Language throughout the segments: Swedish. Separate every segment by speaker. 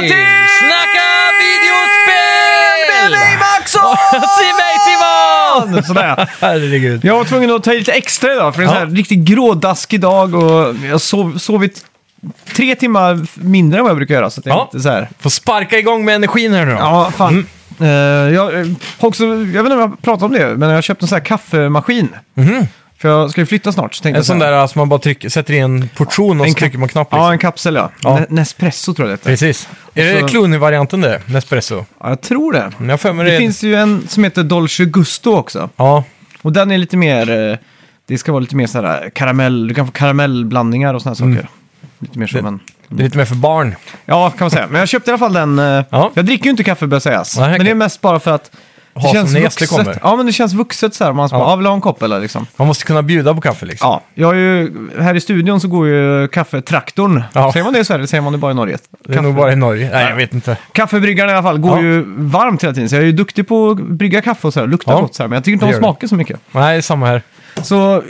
Speaker 1: till
Speaker 2: Snacka videospel!
Speaker 1: med mig Maxson!
Speaker 2: mig Simon!
Speaker 1: Sådär.
Speaker 2: Herregud.
Speaker 1: Jag var tvungen att ta i lite extra idag, för det är en
Speaker 2: Ja.
Speaker 1: sån här riktigt grådaskig dag och jag sov, sovit tre timmar mindre än vad jag brukar göra. Så att jag
Speaker 2: Ja. Mm.
Speaker 1: inte så här.
Speaker 2: Får sparka igång med energin här nu då.
Speaker 1: Ja, fan. Eh, jag, eh, har också, jag vet inte om jag pratat om det, men jag köpte en sån här kaffemaskin. För jag ska ju flytta snart. Så tänkte
Speaker 2: Mhm. En
Speaker 1: jag så
Speaker 2: sån
Speaker 1: här-
Speaker 2: där som alltså, man bara trycker, sätter i en portion och
Speaker 1: En
Speaker 2: så trycker man knapp. Liksom.
Speaker 1: Ja, en kapsel ja.
Speaker 2: Ja.
Speaker 1: Ne- Nespresso tror jag det heter.
Speaker 2: Precis. Är
Speaker 1: så-
Speaker 2: det Clooney-varianten det? Nespresso?
Speaker 1: Ja, jag tror det.
Speaker 2: Jag har för mig
Speaker 1: Det finns ju en som heter Dolce Gusto också.
Speaker 2: Ja,
Speaker 1: Och den är lite mer... eh, Det ska vara lite mer sådär karamell... Du kan få karamellblandningar och sådana saker. Lite mer så,
Speaker 2: Mm. Det-
Speaker 1: men...
Speaker 2: det är lite mer för barn.
Speaker 1: Ja, kan man säga. Men jag köpte i alla fall den. eh,
Speaker 2: Ja.
Speaker 1: Jag dricker ju inte kaffe, bör sägas.
Speaker 2: Nej,
Speaker 1: men
Speaker 2: okej.
Speaker 1: det är mest bara för att... Det
Speaker 2: Ha
Speaker 1: känns
Speaker 2: som när gäster
Speaker 1: vuxet.
Speaker 2: kommer.
Speaker 1: Ja, men det känns vuxet så här. Man ska
Speaker 2: Ja.
Speaker 1: bara, ja. vill du ha en kopp eller liksom.
Speaker 2: Man måste kunna bjuda på kaffe liksom.
Speaker 1: Ja, jag har ju, här i studion så går ju kaffetraktorn.
Speaker 2: Ja.
Speaker 1: Säger man det i Sverige? Säger man det bara i Norge?
Speaker 2: det är nog bara i Norge. Nej, jag vet inte.
Speaker 1: Kaffebryggaren i alla fall går
Speaker 2: Ja.
Speaker 1: ju varmt hela tiden. Så jag är ju duktig på att brygga kaffe och så här. Luktar
Speaker 2: Ja.
Speaker 1: gott så här. Men jag tycker inte
Speaker 2: Det
Speaker 1: om
Speaker 2: gör det.
Speaker 1: smaken så mycket.
Speaker 2: Nej, det är samma här.
Speaker 1: Så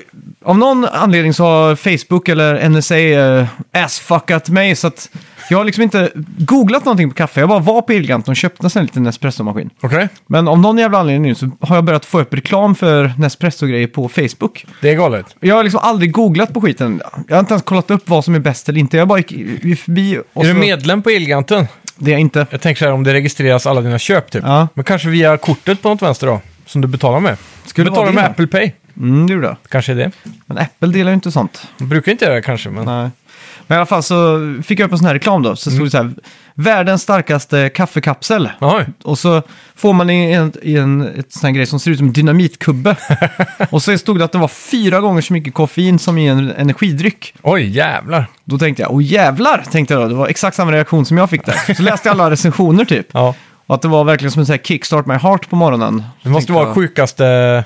Speaker 1: av någon anledning så har Facebook eller NSA eh, assfuckat mig så att jag har liksom inte googlat någonting på kaffe. Jag bara var på Elgiganten och köpte en sån här liten Nespresso-maskin.
Speaker 2: Okej.
Speaker 1: Men av någon jävla anledning nu så har jag börjat få upp reklam för Nespresso-grejer på Facebook.
Speaker 2: Det är galet.
Speaker 1: Jag har liksom aldrig googlat på skiten. Jag har inte ens kollat upp vad som är bäst eller inte. Jag bara gick i- förbi och
Speaker 2: Är
Speaker 1: så...
Speaker 2: du medlem på Elgiganten?
Speaker 1: Det är jag inte.
Speaker 2: Jag tänker så här om det registreras alla dina köp typ.
Speaker 1: Ja.
Speaker 2: Men kanske via kortet på något vänster då? Som du betalar med.
Speaker 1: Skulle vara
Speaker 2: betalar
Speaker 1: det,
Speaker 2: med
Speaker 1: ja.
Speaker 2: Apple Pay.
Speaker 1: Mm, det gjorde jag.
Speaker 2: Kanske är det.
Speaker 1: Men Apple delar ju inte sånt.
Speaker 2: De brukar inte göra det kanske, men...
Speaker 1: Nej. Men i alla fall så fick jag upp en sån här reklam då. Så stod det så här, världens starkaste kaffekapsel.
Speaker 2: Oj.
Speaker 1: Och så får man i en, i en ett sån här grej som ser ut som en dynamitkubbe. och så stod det att det var fyra gånger så mycket koffein som i en energidryck.
Speaker 2: Oj, jävlar.
Speaker 1: Då tänkte jag, åh jävlar, tänkte jag då. Det var exakt samma reaktion som jag fick där. Så läste jag alla recensioner typ.
Speaker 2: Ja.
Speaker 1: Och att det var verkligen som en sån här kickstart my heart på morgonen.
Speaker 2: Det måste
Speaker 1: Tänkte
Speaker 2: vara
Speaker 1: jag.
Speaker 2: sjukaste...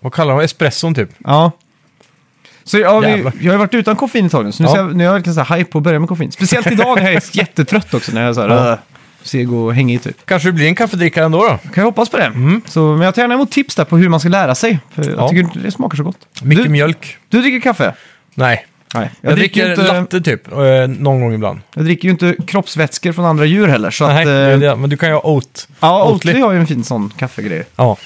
Speaker 2: Vad kallar de Espresson typ?
Speaker 1: Ja. Så jag, jag,
Speaker 2: Jävlar.
Speaker 1: jag har ju varit utan koffein ett tag nu, så nu,
Speaker 2: Ja.
Speaker 1: ser jag, nu är jag verkligen så här hype på att börja med koffein. Speciellt idag när jag är jättetrött också, när jag är så här
Speaker 2: Ja.
Speaker 1: "Åh, seg och hängig typ.
Speaker 2: Kanske du blir en kaffedrickare ändå då?
Speaker 1: Kan jag hoppas på det. Så, men jag tar gärna emot tips där på hur man ska lära sig. För Jag
Speaker 2: Mm. Ja.
Speaker 1: tycker inte det smakar så gott.
Speaker 2: Mycket
Speaker 1: Du-
Speaker 2: mjölk?
Speaker 1: Du dricker kaffe?
Speaker 2: Nej.
Speaker 1: Nej. Jag,
Speaker 2: Jag,
Speaker 1: dricker,
Speaker 2: dricker
Speaker 1: ju inte,
Speaker 2: latte typ, eh, någon gång ibland.
Speaker 1: jag dricker ju inte kroppsvätskor från andra djur heller. Så
Speaker 2: Nej,
Speaker 1: att,
Speaker 2: det
Speaker 1: eh,
Speaker 2: är det. men du kan ju ha oat.
Speaker 1: ja,
Speaker 2: Oatly.
Speaker 1: Oatly har ju en fin sån kaffegrej.
Speaker 2: Ja.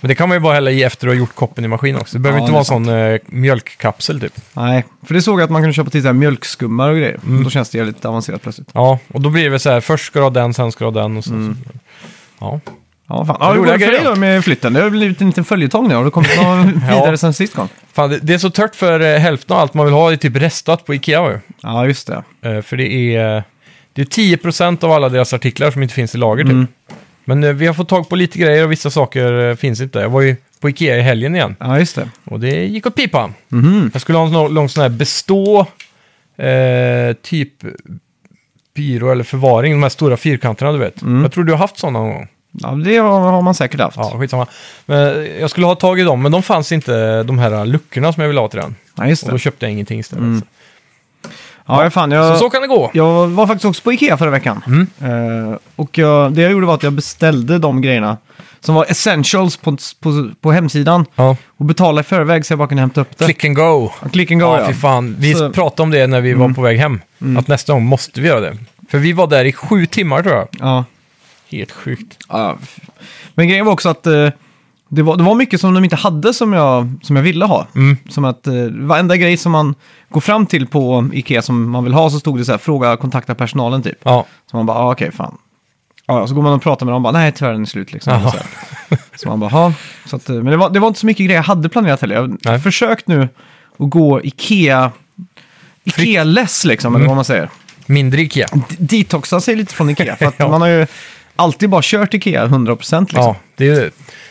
Speaker 2: Men det kan man ju bara hälla i efter att ha gjort koppen i maskinen också. Det behöver
Speaker 1: Ja,
Speaker 2: inte
Speaker 1: det är
Speaker 2: vara sån eh, mjölkkapsel typ.
Speaker 1: Nej, för det såg jag att man kunde köpa till så här mjölkskummar och grejer.
Speaker 2: Mm.
Speaker 1: Då känns det lite avancerat plötsligt.
Speaker 2: Ja, och då blir det väl så här, först ska du ha den, sen ska du ha den och sen...
Speaker 1: Mm.
Speaker 2: Ja.
Speaker 1: Ja, fan. Ja, hur går
Speaker 2: Roliga
Speaker 1: det för dig
Speaker 2: grejer.
Speaker 1: då med flytten? Det har blivit en liten följetong nu. Har du kommit någon vidare sen sist gång?
Speaker 2: Fan, det, det är så tört för eh, hälften av allt man vill ha är typ restat på Ikea ju.
Speaker 1: Ja, just det.
Speaker 2: Eh, för det är, det är 10% av alla deras artiklar som inte finns i lager typ. Men eh, vi har fått tag på lite grejer och vissa saker eh, finns inte. Jag var ju på Ikea i helgen igen
Speaker 1: Ja, just det.
Speaker 2: och det gick åt pipan.
Speaker 1: Mhm.
Speaker 2: Jag skulle ha en sån- lång sån här bestå, eh, typ byrå eller förvaring, de här stora fyrkanterna du vet. Jag tror du har haft sådana någon gång.
Speaker 1: Ja, det har har man säkert haft.
Speaker 2: Ja, skitsamma. Men eh, jag skulle ha tag i dem, men de fanns inte, de här luckorna som jag ville ha till den.
Speaker 1: Ja, just
Speaker 2: Och då
Speaker 1: det.
Speaker 2: köpte jag ingenting istället.
Speaker 1: Ja, jag fan, jag...
Speaker 2: Så så kan det gå.
Speaker 1: Jag var faktiskt också på Ikea förra veckan. Eh, och jag, det jag gjorde var att jag beställde de grejerna som var essentials på, på, på hemsidan.
Speaker 2: Ja.
Speaker 1: Och betalade i förväg så jag bara kunde hämta upp det.
Speaker 2: Click and go.
Speaker 1: Ja, Click and go,
Speaker 2: Ja,
Speaker 1: ja.
Speaker 2: fy fan. Vi
Speaker 1: Så- Mm.
Speaker 2: pratade om det när vi var på väg hem. Att nästa gång måste vi göra det. För vi var där i sju timmar tror jag.
Speaker 1: Ja.
Speaker 2: Helt sjukt.
Speaker 1: Ja, f- Men grejen var också att eh, det, var, det var mycket som de inte hade som jag, som jag ville ha.
Speaker 2: Mm.
Speaker 1: Som att eh, varenda grej som man går fram till på Ikea som man vill ha så stod det så här, fråga, kontakta personalen typ.
Speaker 2: Ja,
Speaker 1: Så man bara, ah, okej, fan. Ja, ja, så går man och pratar med dem och bara, nej tyvärr den är slut liksom.
Speaker 2: Ja.
Speaker 1: Så, här. så man bara, "Ha." så att, eh, Men det var, det var inte så mycket grejer jag hade planerat heller. Jag har
Speaker 2: Nej.
Speaker 1: försökt nu att gå Ikea... Ikea-less liksom,
Speaker 2: Mm.
Speaker 1: eller vad man säger.
Speaker 2: mindre Ikea.
Speaker 1: D- Detoxa sig lite från Ikea, för att
Speaker 2: Ja.
Speaker 1: man har ju alltid bara kört Ikea 100% liksom.
Speaker 2: Ja, det är det.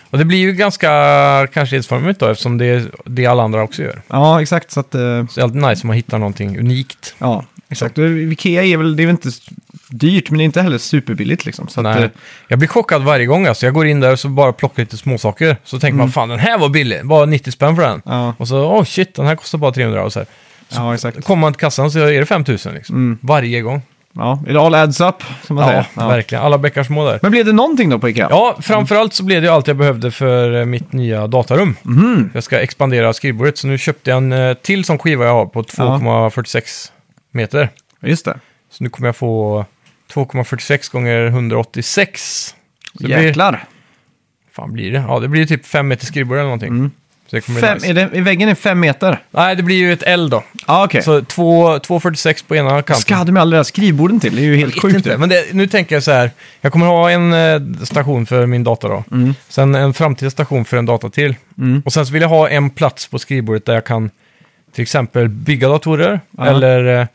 Speaker 2: Och det blir ju ganska kanske ensformigt då eftersom det är det alla andra också gör.
Speaker 1: Ja, exakt. Så att,
Speaker 2: Så
Speaker 1: eh,
Speaker 2: det är alltid nice om man hittar någonting unikt.
Speaker 1: ja, exakt. Och Ikea är väl, det är väl inte s- dyrt, men det är inte heller superbilligt liksom. Så att,
Speaker 2: Nej.
Speaker 1: eh,
Speaker 2: Jag blir chockad varje gång. Alltså. Jag går in där och så bara plockar lite småsaker. Så tänker
Speaker 1: Mm.
Speaker 2: man, fan den här var billig. Bara 90 spänn för den.
Speaker 1: ja,
Speaker 2: Och så, oh shit, den här kostar bara 300. Och så här.
Speaker 1: ja, exakt.
Speaker 2: Kommer man till kassan så är det 5000 liksom. Varje gång.
Speaker 1: Ja, it all adds up, som Mm. man
Speaker 2: Ja,
Speaker 1: säger. Ja.
Speaker 2: verkligen. Alla bäckar små där.
Speaker 1: Men blev det någonting då på Ikea?
Speaker 2: Ja, framförallt så blev det ju allt jag behövde för eh, mitt nya datarum.
Speaker 1: Mhm.
Speaker 2: Jag ska expandera skrivbordet, så nu köpte jag en eh, till som skiva jag har på 2,46 meter.
Speaker 1: Just det.
Speaker 2: Så nu kommer jag få 2,46 gånger 186. Så det blir,
Speaker 1: Jäklar.
Speaker 2: fan blir det? Ja, det blir typ 5 meter skrivbord eller någonting. Så det kommer bli
Speaker 1: Mm. Fem,
Speaker 2: nice.
Speaker 1: är det, i väggen är fem meter.
Speaker 2: Nej, det blir ju ett L då.
Speaker 1: Ja, okej.
Speaker 2: Så två- 2,46 på ena kanten.
Speaker 1: Vad Ska hade med alla deras skrivborden till? Det är ju helt
Speaker 2: Vet
Speaker 1: sjukt.
Speaker 2: inte,
Speaker 1: det.
Speaker 2: men det, nu tänker jag så här. Jag kommer ha en eh, station för min dator då.
Speaker 1: Mm.
Speaker 2: Sen en framtida station för en dator till. Och sen så vill jag ha en plats på skrivbordet där jag kan till exempel bygga datorer.
Speaker 1: Ja.
Speaker 2: Eller eh,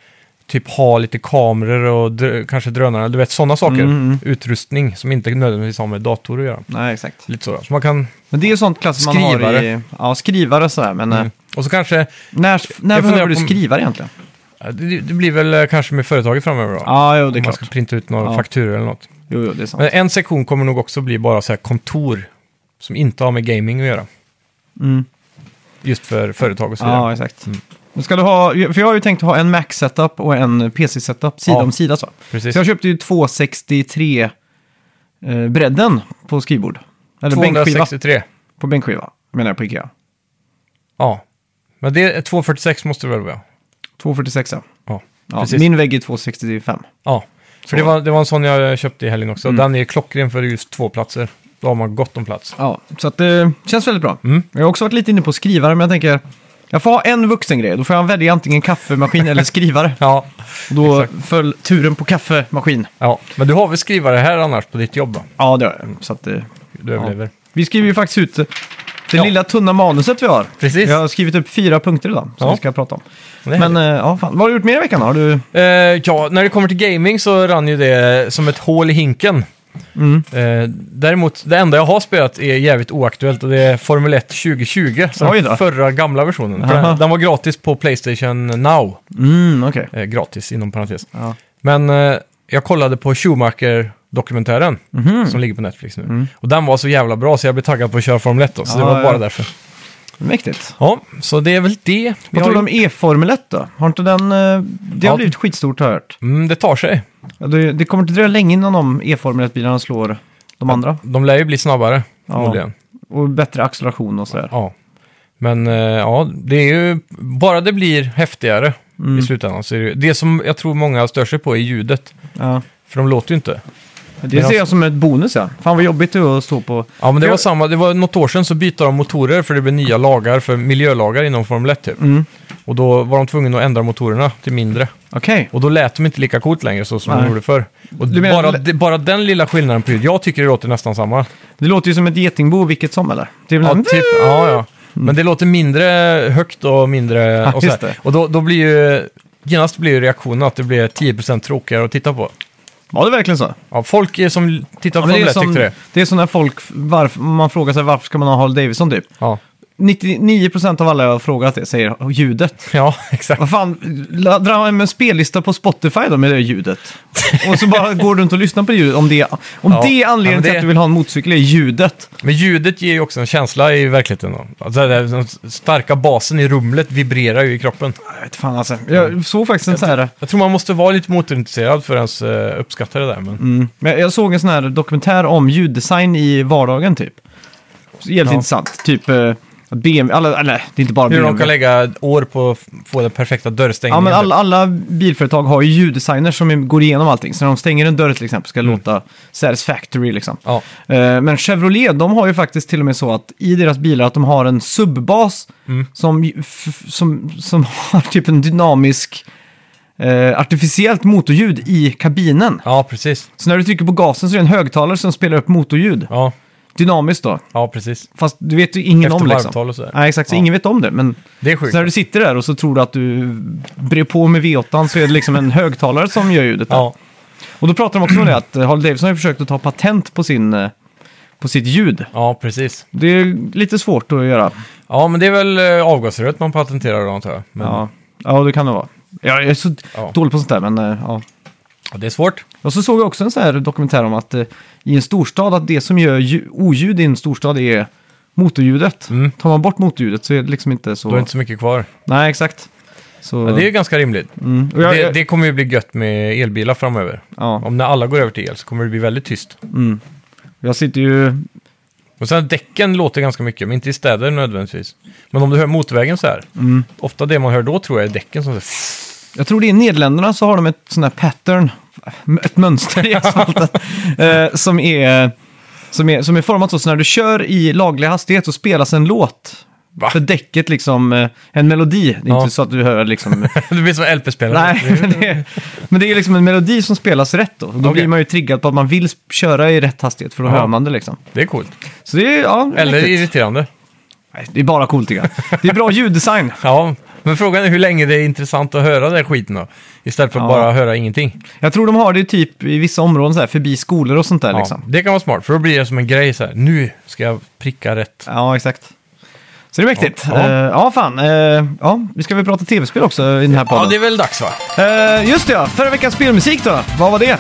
Speaker 2: typ ha lite kameror och drö- kanske drönare. Du vet sådana saker.
Speaker 1: Mm, mm.
Speaker 2: Utrustning som inte nödvändigtvis har med datorer att göra.
Speaker 1: Nej, exakt.
Speaker 2: Lite så. då. Så man kan...
Speaker 1: Men det är ju sånt klass man har i...
Speaker 2: Skrivare.
Speaker 1: Ja, skrivare och sådär. Men eh,
Speaker 2: Mm. Och så kanske...
Speaker 1: när, när
Speaker 2: Jag funderar
Speaker 1: behöver du
Speaker 2: på om-
Speaker 1: skrivare egentligen?
Speaker 2: Det, det blir väl eh, kanske med företaget framöver då.
Speaker 1: Ja, jo, det är
Speaker 2: Om man
Speaker 1: klart.
Speaker 2: ska printa ut några
Speaker 1: Ja.
Speaker 2: fakturor eller något.
Speaker 1: Jo, jo, det är sant.
Speaker 2: Men en sektion kommer nog också bli bara så här kontor som inte har med gaming att göra.
Speaker 1: Mm.
Speaker 2: Just för företag och så vidare.
Speaker 1: Ja, exakt. Men Ska du ha, för jag har ju tänkt ha en Mac-setup och en PC-setup sida
Speaker 2: Ja.
Speaker 1: om sida. Så.
Speaker 2: Precis.
Speaker 1: så jag köpte ju 263-bredden på skrivbord. Eller bänkskiva.
Speaker 2: 263.
Speaker 1: På bänkskiva, menar jag på Ikea.
Speaker 2: Ja. Men det är 246 måste det väl vara?
Speaker 1: 246, ja.
Speaker 2: Ja,
Speaker 1: ja
Speaker 2: precis.
Speaker 1: min vägg är 265.
Speaker 2: Ja. För det var, det var en sån jag köpte i helgen
Speaker 1: Mm.
Speaker 2: också. Den är klockren för just två platser. Då har man gott om plats.
Speaker 1: Ja, så att det känns väldigt bra.
Speaker 2: Mm.
Speaker 1: Jag har också varit lite inne på skrivare, men jag tänker... Jag får ha en vuxengrej, då får jag välja antingen kaffemaskin eller skrivare.
Speaker 2: Ja.
Speaker 1: Och då föll turen på kaffemaskin.
Speaker 2: ja. Men du har väl skrivare här annars på ditt jobb? Då?
Speaker 1: Ja, det har jag. Så att, eh,
Speaker 2: Du överlever.
Speaker 1: vi skriver ju faktiskt ut eh, det
Speaker 2: Ja.
Speaker 1: lilla tunna manuset vi har.
Speaker 2: Precis.
Speaker 1: Jag har skrivit upp fyra punkter idag som
Speaker 2: Ja.
Speaker 1: vi ska prata om.
Speaker 2: Det är
Speaker 1: Men eh, ja, fan. vad har du gjort mer i veckan? då? Har du...
Speaker 2: Eh, ja, när det kommer till gaming så rann ju det som ett hål i hinken.
Speaker 1: Mm.
Speaker 2: Eh, däremot, det enda jag har spelat är jävligt oaktuellt och det är Formel 1 2020. Så
Speaker 1: Oj då.
Speaker 2: den förra gamla versionen. För
Speaker 1: Aha.
Speaker 2: den, den var gratis på Playstation Now.
Speaker 1: Mm, okej.
Speaker 2: Eh, gratis, inom parentes.
Speaker 1: Ja.
Speaker 2: Men eh, jag kollade på Schumacher-dokumentären
Speaker 1: Mhm.
Speaker 2: som ligger på Netflix nu. Och den var så jävla bra så jag blev taggad på att köra Formel 1 då, så det
Speaker 1: Mm. Ja,
Speaker 2: var bara
Speaker 1: ja.
Speaker 2: därför.
Speaker 1: Mäktigt.
Speaker 2: Ja, så det är väl det. vi
Speaker 1: Vad
Speaker 2: har
Speaker 1: tror du om E-formel 1 då? Har inte den... eh, Det har
Speaker 2: Ja.
Speaker 1: blivit skitstort har jag hört.
Speaker 2: gjort. Mm, det tar sig.
Speaker 1: Ja, Det, det kommer inte dröja länge innan de E-formel 1-bilarna slår de andra.
Speaker 2: De lär ju bli snabbare,
Speaker 1: Ja.
Speaker 2: förmodligen.
Speaker 1: Och bättre acceleration och sådär.
Speaker 2: Ja. Men eh, ja, det är ju... Bara det blir häftigare
Speaker 1: Mm.
Speaker 2: i slutändan så är det ju... Det som jag tror många stör sig på är ljudet.
Speaker 1: Ja.
Speaker 2: För de låter ju inte.
Speaker 1: Det
Speaker 2: alltså-
Speaker 1: ser jag som ett bonus ja. Fan vad jobbigt det är att stå på...
Speaker 2: Ja, men det
Speaker 1: Jag-
Speaker 2: var samma. Det var något år sedan så bytte de motorer för det blev nya lagar för miljölagar inom Formel 1 typ.
Speaker 1: Mm.
Speaker 2: Och då var de tvungna att ändra motorerna till mindre.
Speaker 1: Okej.
Speaker 2: Och då lät de inte lika coolt längre så som
Speaker 1: Nej.
Speaker 2: de gjorde förr. Och
Speaker 1: Du menar-
Speaker 2: bara, det- bara den lilla skillnaden på ljud. Jag tycker det låter nästan samma.
Speaker 1: Det låter ju som ett getingbo vilket som eller? Det är väl
Speaker 2: Ja,
Speaker 1: en-
Speaker 2: typ, ja, ja. Men det låter mindre högt och mindre... Och, så
Speaker 1: just
Speaker 2: här.
Speaker 1: det.
Speaker 2: och då, då blir ju... Genast blir ju reaktionen att det blir 10% tråkigare att titta på.
Speaker 1: Var det verkligen så?
Speaker 2: Ja, folk är som tittar
Speaker 1: Ja,
Speaker 2: på
Speaker 1: men
Speaker 2: Formel
Speaker 1: det, är
Speaker 2: 1
Speaker 1: som,
Speaker 2: tyckte det.
Speaker 1: det är som när folk, varför, man frågar sig varför ska man ha Harley Davidson typ?
Speaker 2: Ja,
Speaker 1: 99% av alla jag har frågat det säger "Åh, ljudet.
Speaker 2: ja exakt.
Speaker 1: Vad fan, la- dra hem en spellista på Spotify då med det ljudet. Och så bara går du runt och lyssnar på det ljudet. Om det, om
Speaker 2: Ja,
Speaker 1: det är
Speaker 2: ja,
Speaker 1: anledningen
Speaker 2: men
Speaker 1: till
Speaker 2: det-
Speaker 1: att du vill ha en motorcykel, är ljudet.
Speaker 2: Men ljudet ger ju också en känsla i verkligheten. Då. Alltså, det- den starka basen i rumlet vibrerar ju i kroppen.
Speaker 1: Jag vet fan alltså. Jag såg faktiskt en sån här...
Speaker 2: Jag tror man måste vara lite motorintresserad för att ens eh, uppskatta det där. Men...
Speaker 1: Mm. Men jag såg en sån här dokumentär om ljuddesign i vardagen typ. Så Jävligt
Speaker 2: Ja.
Speaker 1: intressant. Typ eh, att BMW, alla, eller det är inte bara
Speaker 2: Hur
Speaker 1: BMW.
Speaker 2: de kan lägga år på att f- få den perfekta
Speaker 1: Mm. ja,
Speaker 2: dörrstängningen.
Speaker 1: men alla, alla bilföretag har ju ljuddesigners som går igenom allting. Så när de stänger en dörr till exempel ska det
Speaker 2: Mm.
Speaker 1: låta satisfactory liksom.
Speaker 2: Ja,
Speaker 1: Eh, Men Chevrolet, de har ju faktiskt till och med så att i deras bilar att de har en subbas
Speaker 2: Mm.
Speaker 1: som, ju- f- som, som har typ en dynamisk eh, artificiellt motorljud i kabinen.
Speaker 2: ja precis.
Speaker 1: Så när du trycker på gasen så är det en högtalare som spelar upp motorljud.
Speaker 2: Ja,
Speaker 1: Dynamiskt då.
Speaker 2: ja precis.
Speaker 1: Fast du vet ju ingen
Speaker 2: Efter
Speaker 1: om liksom.
Speaker 2: varvtal och sådär.
Speaker 1: Nej, exakt. Så
Speaker 2: Ja.
Speaker 1: ingen vet om det. Men
Speaker 2: Det är
Speaker 1: så
Speaker 2: sjukt.
Speaker 1: när du sitter där och så tror du att du brer på med V8 så är det liksom en högtalare som gör ljudet. där.
Speaker 2: Ja,
Speaker 1: Och då pratar de också om det att eh, Harley Davidson har ju försökt att ta patent på, sin, eh, på sitt ljud.
Speaker 2: ja, precis.
Speaker 1: Det är lite svårt att göra.
Speaker 2: Ja, men det är väl eh, avgasröret man patenterar då antar jag. Men ja.
Speaker 1: Ja, ja det kan det vara. Jag är så
Speaker 2: Ja.
Speaker 1: dålig på sånt där, men eh, ja.
Speaker 2: det är svårt.
Speaker 1: Och så såg jag också en sån här dokumentär om att eh, i en storstad, att det som gör lju- oljud i en storstad är motorljudet.
Speaker 2: Mm.
Speaker 1: Tar man bort motorljudet så är det liksom inte så...
Speaker 2: Då är det inte så mycket kvar.
Speaker 1: Nej, exakt. Så...
Speaker 2: Men det är ju ganska rimligt.
Speaker 1: mm. Och jag,
Speaker 2: Det,
Speaker 1: jag-
Speaker 2: det kommer ju bli gött med elbilar framöver.
Speaker 1: Ja,
Speaker 2: Om när alla går över till el så kommer det bli väldigt tyst.
Speaker 1: jag sitter ju...
Speaker 2: Och sen däcken låter ganska mycket, men inte i städer nödvändigtvis. Men om du hör motorvägen så här,
Speaker 1: Mm.
Speaker 2: ofta det man hör då tror jag är däcken som... Så
Speaker 1: Jag tror det är i Nederländerna så har de ett sån här pattern ett mönster i asfalten eh, som, är, som, är, som är format så, så när du kör i laglig hastighet så spelas en låt.
Speaker 2: Va?
Speaker 1: För däcket liksom, eh, en melodi. Det är
Speaker 2: Ja.
Speaker 1: inte så att du hör liksom...
Speaker 2: Du blir som LP-spelare.
Speaker 1: nej, men det, är- men det är liksom en melodi som spelas rätt då. Då blir
Speaker 2: Okej.
Speaker 1: man ju triggad på att man vill sp- köra i rätt hastighet för då
Speaker 2: Ja.
Speaker 1: hör man det liksom.
Speaker 2: Det är coolt.
Speaker 1: Så det är, ja,
Speaker 2: Eller
Speaker 1: häftigt.
Speaker 2: irriterande.
Speaker 1: Nej, det är bara coolt tycker jag. Det är bra ljuddesign.
Speaker 2: Ja, men frågan är hur länge det är intressant att höra den här skiten då. Istället för att
Speaker 1: Ja.
Speaker 2: bara höra ingenting.
Speaker 1: Jag tror de har det typ i vissa områden så här, förbi skolor och sånt där
Speaker 2: Ja,
Speaker 1: liksom.
Speaker 2: Det kan vara smart, för då blir det som en grej så här. Nu ska jag pricka rätt.
Speaker 1: Ja, exakt. Så det är mäktigt.
Speaker 2: Ja.
Speaker 1: Ja, ja fan. Eh, ja, vi ska väl prata tv-spel också i den här
Speaker 2: Ja,
Speaker 1: podden.
Speaker 2: det är väl dags va?
Speaker 1: Eh, just det, ja. Förra veckans spelmusik då. Vad var det?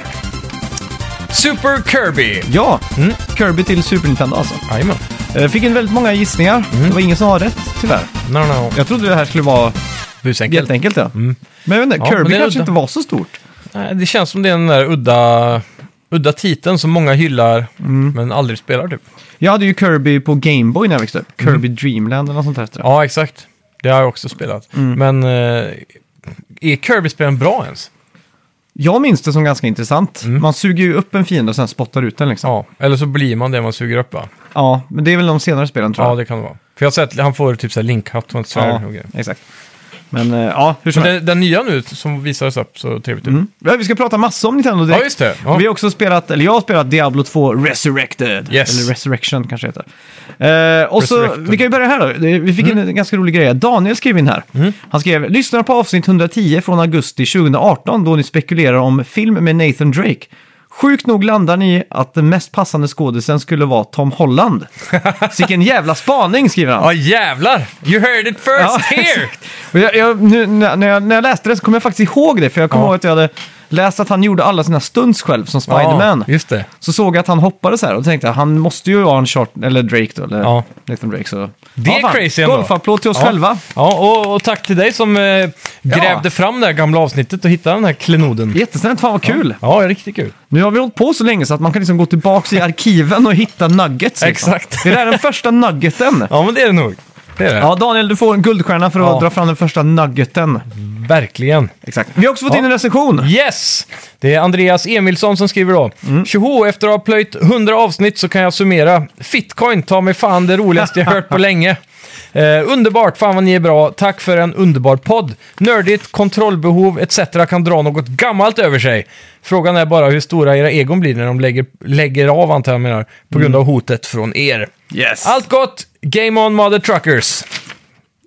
Speaker 2: Super Kirby!
Speaker 1: Ja,
Speaker 2: Mm.
Speaker 1: Kirby till Super Nintendo alltså.
Speaker 2: Jajamän.
Speaker 1: Eh, fick in väldigt många gissningar.
Speaker 2: Mm.
Speaker 1: Det var ingen som har rätt, tyvärr.
Speaker 2: No, no.
Speaker 1: Jag trodde det här skulle vara
Speaker 2: Busenkelt.
Speaker 1: jätteenkelt. Ja. Men jag vet inte,
Speaker 2: Mm. Ja, men
Speaker 1: Kirby
Speaker 2: det är
Speaker 1: kanske
Speaker 2: udda.
Speaker 1: inte var så stort.
Speaker 2: Nej, Det känns som det är den där udda, udda titeln som många hyllar men aldrig spelar typ.
Speaker 1: Jag hade ju Kirby på Gameboy när jag växte upp.
Speaker 2: Mm.
Speaker 1: Kirby Dreamland eller något sånt där. heter det.
Speaker 2: Ja, exakt. Det har jag också spelat. Men eh, är Kirby-spelen bra ens?
Speaker 1: Jag minns det som ganska intressant.
Speaker 2: Mm.
Speaker 1: Man suger ju upp en fiende och sen spottar ut den liksom.
Speaker 2: Ja, eller så blir man det man suger upp va?
Speaker 1: Ja, men det är väl de senare spelen tror
Speaker 2: Ja,
Speaker 1: jag.
Speaker 2: det kan det vara. För jag har sett, han får typ så här linkhatt och ett svärd. och grejer.
Speaker 1: exakt. Men eh, ja, hur som
Speaker 2: Men
Speaker 1: helst.
Speaker 2: den, den nya nu som visades upp så trevligt ut.
Speaker 1: Mm. Ja, Vi ska prata massor om Nintendo direkt.
Speaker 2: Ja, just det. Ja.
Speaker 1: Vi har också spelat, eller jag har spelat Diablo 2 Resurrected.
Speaker 2: Yes.
Speaker 1: Eller Resurrection kanske det heter. Eh, och så,
Speaker 2: Resurrected. Mm.
Speaker 1: vi kan ju börja här då. Det- Vi fick en ganska rolig grej. Daniel skrev in här. Han skrev, lyssnar på avsnitt 110 från augusti 2018 då ni spekulerar om film med Nathan Drake. Sjukt nog landar ni att den mest passande skådisen skulle vara Tom Holland. Vilken jävla spaning, skriver han.
Speaker 2: Ja, jävlar! You heard it first
Speaker 1: Ja,
Speaker 2: here!
Speaker 1: exakt. Och jag, jag, nu, när, när jag, när jag läste det så kom jag faktiskt ihåg det, för jag kommer
Speaker 2: Ja.
Speaker 1: ihåg att jag hade läst att han gjorde alla sina stunts själv som Spiderman.
Speaker 2: Ja, just det.
Speaker 1: Så såg jag att han hoppade så här och tänkte att han måste ju ha en short, eller Drake då, eller
Speaker 2: Ja.
Speaker 1: Nathan Drake. Så.
Speaker 2: Det är crazy ändå.
Speaker 1: Golfapplåd till oss
Speaker 2: Ja.
Speaker 1: själva.
Speaker 2: Ja, och, och tack till dig som eh, grävde fram det här gamla avsnittet och hittade den här klenoden.
Speaker 1: Jättesnällt, fan vad kul!
Speaker 2: Ja, riktigt kul.
Speaker 1: Nu har vi hållit på så länge så att man kan liksom gå tillbaka i arkiven och hitta nuggets. Liksom.
Speaker 2: Exakt.
Speaker 1: Är det här den första nuggeten?
Speaker 2: Ja, men det är det nog. Det är det.
Speaker 1: Ja, Daniel, du får en guldstjärna för att
Speaker 2: Ja.
Speaker 1: dra fram den första nuggeten.
Speaker 2: Verkligen.
Speaker 1: Exakt. Vi har också fått
Speaker 2: Ja.
Speaker 1: in en recension.
Speaker 2: Yes! Det är Andreas Emilsson som skriver då. Tjoho, efter att ha plöjt 100 avsnitt så kan jag summera. Fitcoin, ta mig fan det roligaste jag hört på länge. Eh, underbart, fan vad ni är bra. Tack för en underbar podd. Nördigt, kontrollbehov etc. kan dra något gammalt över sig. Frågan är bara hur stora era egon blir när de lägger, lägger av, antar jag menar, på grund av hotet från er.
Speaker 1: Yes.
Speaker 2: Allt gott! Game on, mother truckers!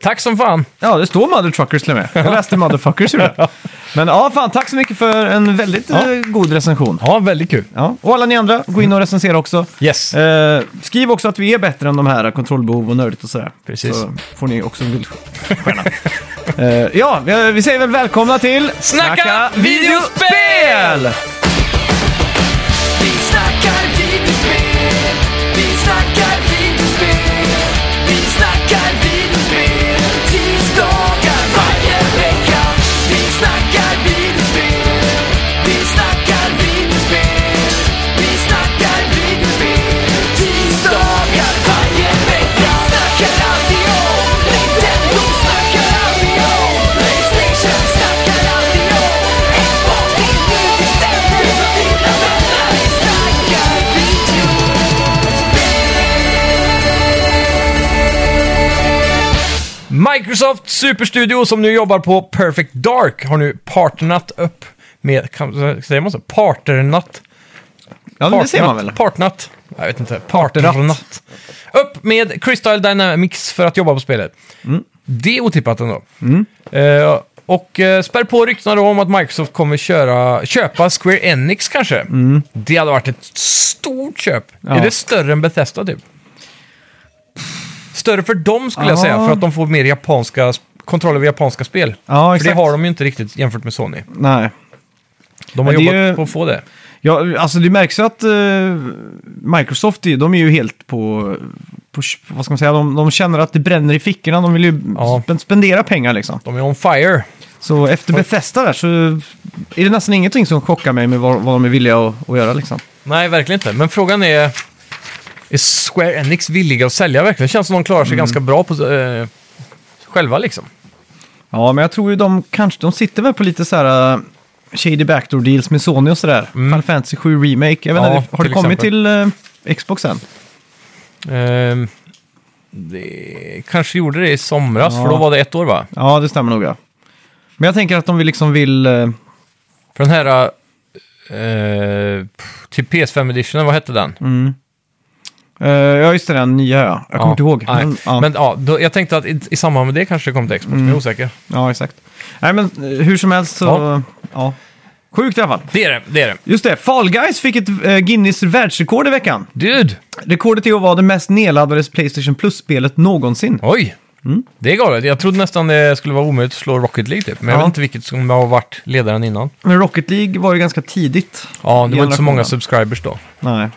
Speaker 2: Tack som fan!
Speaker 1: Ja, det står Mother Truckers till och med. Jag läste Motherfuckers gjorde jag. Men ja, fan, tack så mycket för en väldigt eh, god recension.
Speaker 2: Ja, väldigt kul.
Speaker 1: Ja. Och alla ni andra, gå in och recensera också.
Speaker 2: Yes.
Speaker 1: Eh, skriv också att vi är bättre än de här kontrollbehov och nördigt och sådär.
Speaker 2: Precis.
Speaker 1: Så får ni också en guldstjärna. Eh, ja, vi- vi säger väl välkomna till
Speaker 2: Snacka videospel!
Speaker 3: Vi snackar videospel, vi snackar videospel, vi snackar videospel, tisdagar varje vecka. Vi snackar videospel, vi snackar videospel, vi snackar videospel, tisdagar varje vecka. Snackar alltid om Nintendo, snackar alltid om Playstation, snackar alltid om Xbox, det är nu vi sänder, dina vänner. Vi snackar video.
Speaker 2: Microsoft Superstudio som nu jobbar på Perfect Dark har nu partnernat upp med, kan, säger man så? Parternat?
Speaker 1: Ja, men det ser man väl?
Speaker 2: Partnat? Jag vet inte. Parternat. Upp med Crystal Dynamics för att jobba på spelet.
Speaker 1: Mm.
Speaker 2: Det är otippat ändå. Eh, och eh, spär på ryktena då om att Microsoft kommer köra, köpa Square Enix kanske. Det hade varit ett stort köp.
Speaker 1: Mm. Ja.
Speaker 2: Är det större än Bethesda typ? Större för dem skulle jag
Speaker 1: Ja.
Speaker 2: säga, för att de får mer japanska, kontroll över japanska spel.
Speaker 1: Ja,
Speaker 2: för det
Speaker 1: exakt.
Speaker 2: har de ju inte riktigt jämfört med Sony.
Speaker 1: Nej.
Speaker 2: De har
Speaker 1: Men det är
Speaker 2: jobbat
Speaker 1: ju-
Speaker 2: på att få det.
Speaker 1: Ja, alltså det märks ju att eh, Microsoft, de är ju helt på, på vad ska man säga, de, de känner att det bränner i fickorna, de vill ju
Speaker 2: Ja.
Speaker 1: spen- spendera pengar liksom.
Speaker 2: De är on fire.
Speaker 1: Så efter Bethesda där så är det nästan ingenting som chockar mig med vad, vad de är villiga att, att göra liksom.
Speaker 2: Nej, verkligen inte. Men frågan är, är Square Enix villiga att sälja verkligen? Det känns som de klarar
Speaker 1: Mm.
Speaker 2: sig ganska bra på, eh, själva liksom.
Speaker 1: Ja, men jag tror ju de kanske, de sitter väl på lite så här, eh, shady backdoor deals med Sony och sådär. Final Fantasy 7 Remake. Jag vet
Speaker 2: Mm. Ja,
Speaker 1: inte, har det
Speaker 2: till
Speaker 1: kommit
Speaker 2: exempel.
Speaker 1: till eh, Xbox än?
Speaker 2: Ehm, det kanske gjorde det i somras,
Speaker 1: Ja.
Speaker 2: för då var det ett år va?
Speaker 1: Ja, det stämmer nog ja. Men jag tänker att de vill liksom vill... eh,
Speaker 2: För den här... eh, pff, till PS5 editionen, vad hette den?
Speaker 1: mm. Eh, ja, just det, den nya ja. Jag kommer inte ihåg.
Speaker 2: Nej.
Speaker 1: Men,
Speaker 2: Men,
Speaker 1: ja. Mm.
Speaker 2: ja. då, jag tänkte att i, i samband med det kanske det kom till Xbox, men jag är osäker.
Speaker 1: ja, exakt. Nej, men eh, hur som helst så... Ja.
Speaker 2: Ja.
Speaker 1: Sjukt i alla fall.
Speaker 2: Det är det, det är det.
Speaker 1: Just det, Fall Guys fick ett eh, Guinness världsrekord i veckan.
Speaker 2: Dude!
Speaker 1: Rekordet är att vara det mest nedladdade Playstation Plus-spelet någonsin.
Speaker 2: Oj!
Speaker 1: Mm.
Speaker 2: Det är galet. Jag trodde nästan det skulle vara omöjligt att slå Rocket League typ. Men jag
Speaker 1: Ja.
Speaker 2: vet inte vilket som har varit ledaren innan.
Speaker 1: Men Rocket League var ju ganska tidigt.
Speaker 2: Ja, det var inte så
Speaker 1: Generationen.
Speaker 2: många subscribers då.
Speaker 1: Nej,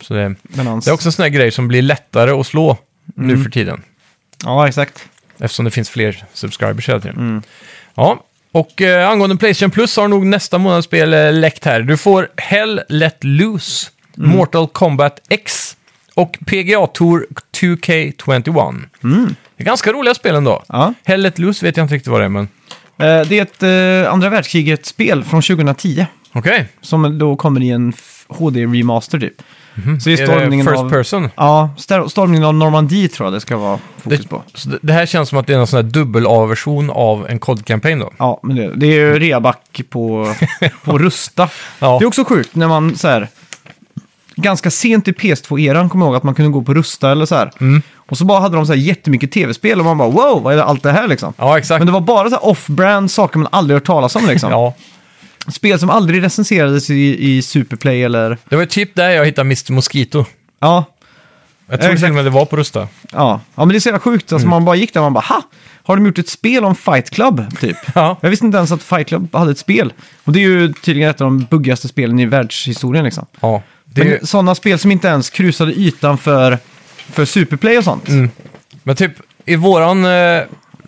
Speaker 2: Så det,
Speaker 1: men hans...
Speaker 2: det är också en sån här grej som blir lättare att slå
Speaker 1: Mm.
Speaker 2: nu för tiden.
Speaker 1: Ja, exakt.
Speaker 2: Eftersom det finns fler subscribers hela tiden.
Speaker 1: Mm.
Speaker 2: Ja, och eh, angående Playstation Plus har nog nästa månads spel eh, läckt här. Du får Hell Let Loose,
Speaker 1: Mm.
Speaker 2: Mortal Kombat X och PGA Tour 2K21. Det är ganska roliga spel ändå.
Speaker 1: Mm. Ja.
Speaker 2: Hell Let Loose vet jag inte riktigt vad det är, men
Speaker 1: Eh, Det är ett eh, andra världskriget-spel från 2010
Speaker 2: okej.
Speaker 1: som då kommer i en f- HD-remaster typ. Så det är
Speaker 2: Mhm. Är det
Speaker 1: stormningen
Speaker 2: first
Speaker 1: av...
Speaker 2: person?
Speaker 1: Ja, stor- stormningen av Normandie tror jag det ska vara fokus
Speaker 2: Det,
Speaker 1: på.
Speaker 2: så det- det här känns som att det är en sån här dubbel A-version av en kodkampanj då.
Speaker 1: Ja, men det, det är ju reaback på, på Rusta.
Speaker 2: Ja.
Speaker 1: Det är också sjukt när man så här... Ganska sent i PS2-eran kommer jag ihåg att man kunde gå på Rusta eller så här.
Speaker 2: Mm.
Speaker 1: Och så bara hade de så här jättemycket tv-spel och man bara wow, vad är det, allt det här liksom?
Speaker 2: Ja, exakt.
Speaker 1: Men det var bara så här off-brand saker man aldrig hört talas om liksom.
Speaker 2: Ja.
Speaker 1: Spel som aldrig recenserades i, i Superplay eller...
Speaker 2: Det var ju typ där jag hittade Mr. Mosquito.
Speaker 1: Ja,
Speaker 2: Jag tror
Speaker 1: Exakt.
Speaker 2: till och med det var på Rusta.
Speaker 1: ja. ja men det är så jävla sjukt.
Speaker 2: Mm.
Speaker 1: Alltså, Man bara gick där och man bara ha! Har de gjort ett spel om Fight Club, typ?
Speaker 2: Ja.
Speaker 1: Jag visste inte ens att Fight Club hade ett spel. Och det är ju tydligen ett av de buggigaste spelen i världshistorien liksom.
Speaker 2: ja. Det är
Speaker 1: Men
Speaker 2: ju...
Speaker 1: sådana spel som inte ens krusade ytan för, för Superplay och sånt.
Speaker 2: Mm. Men typ, i våran... Eh,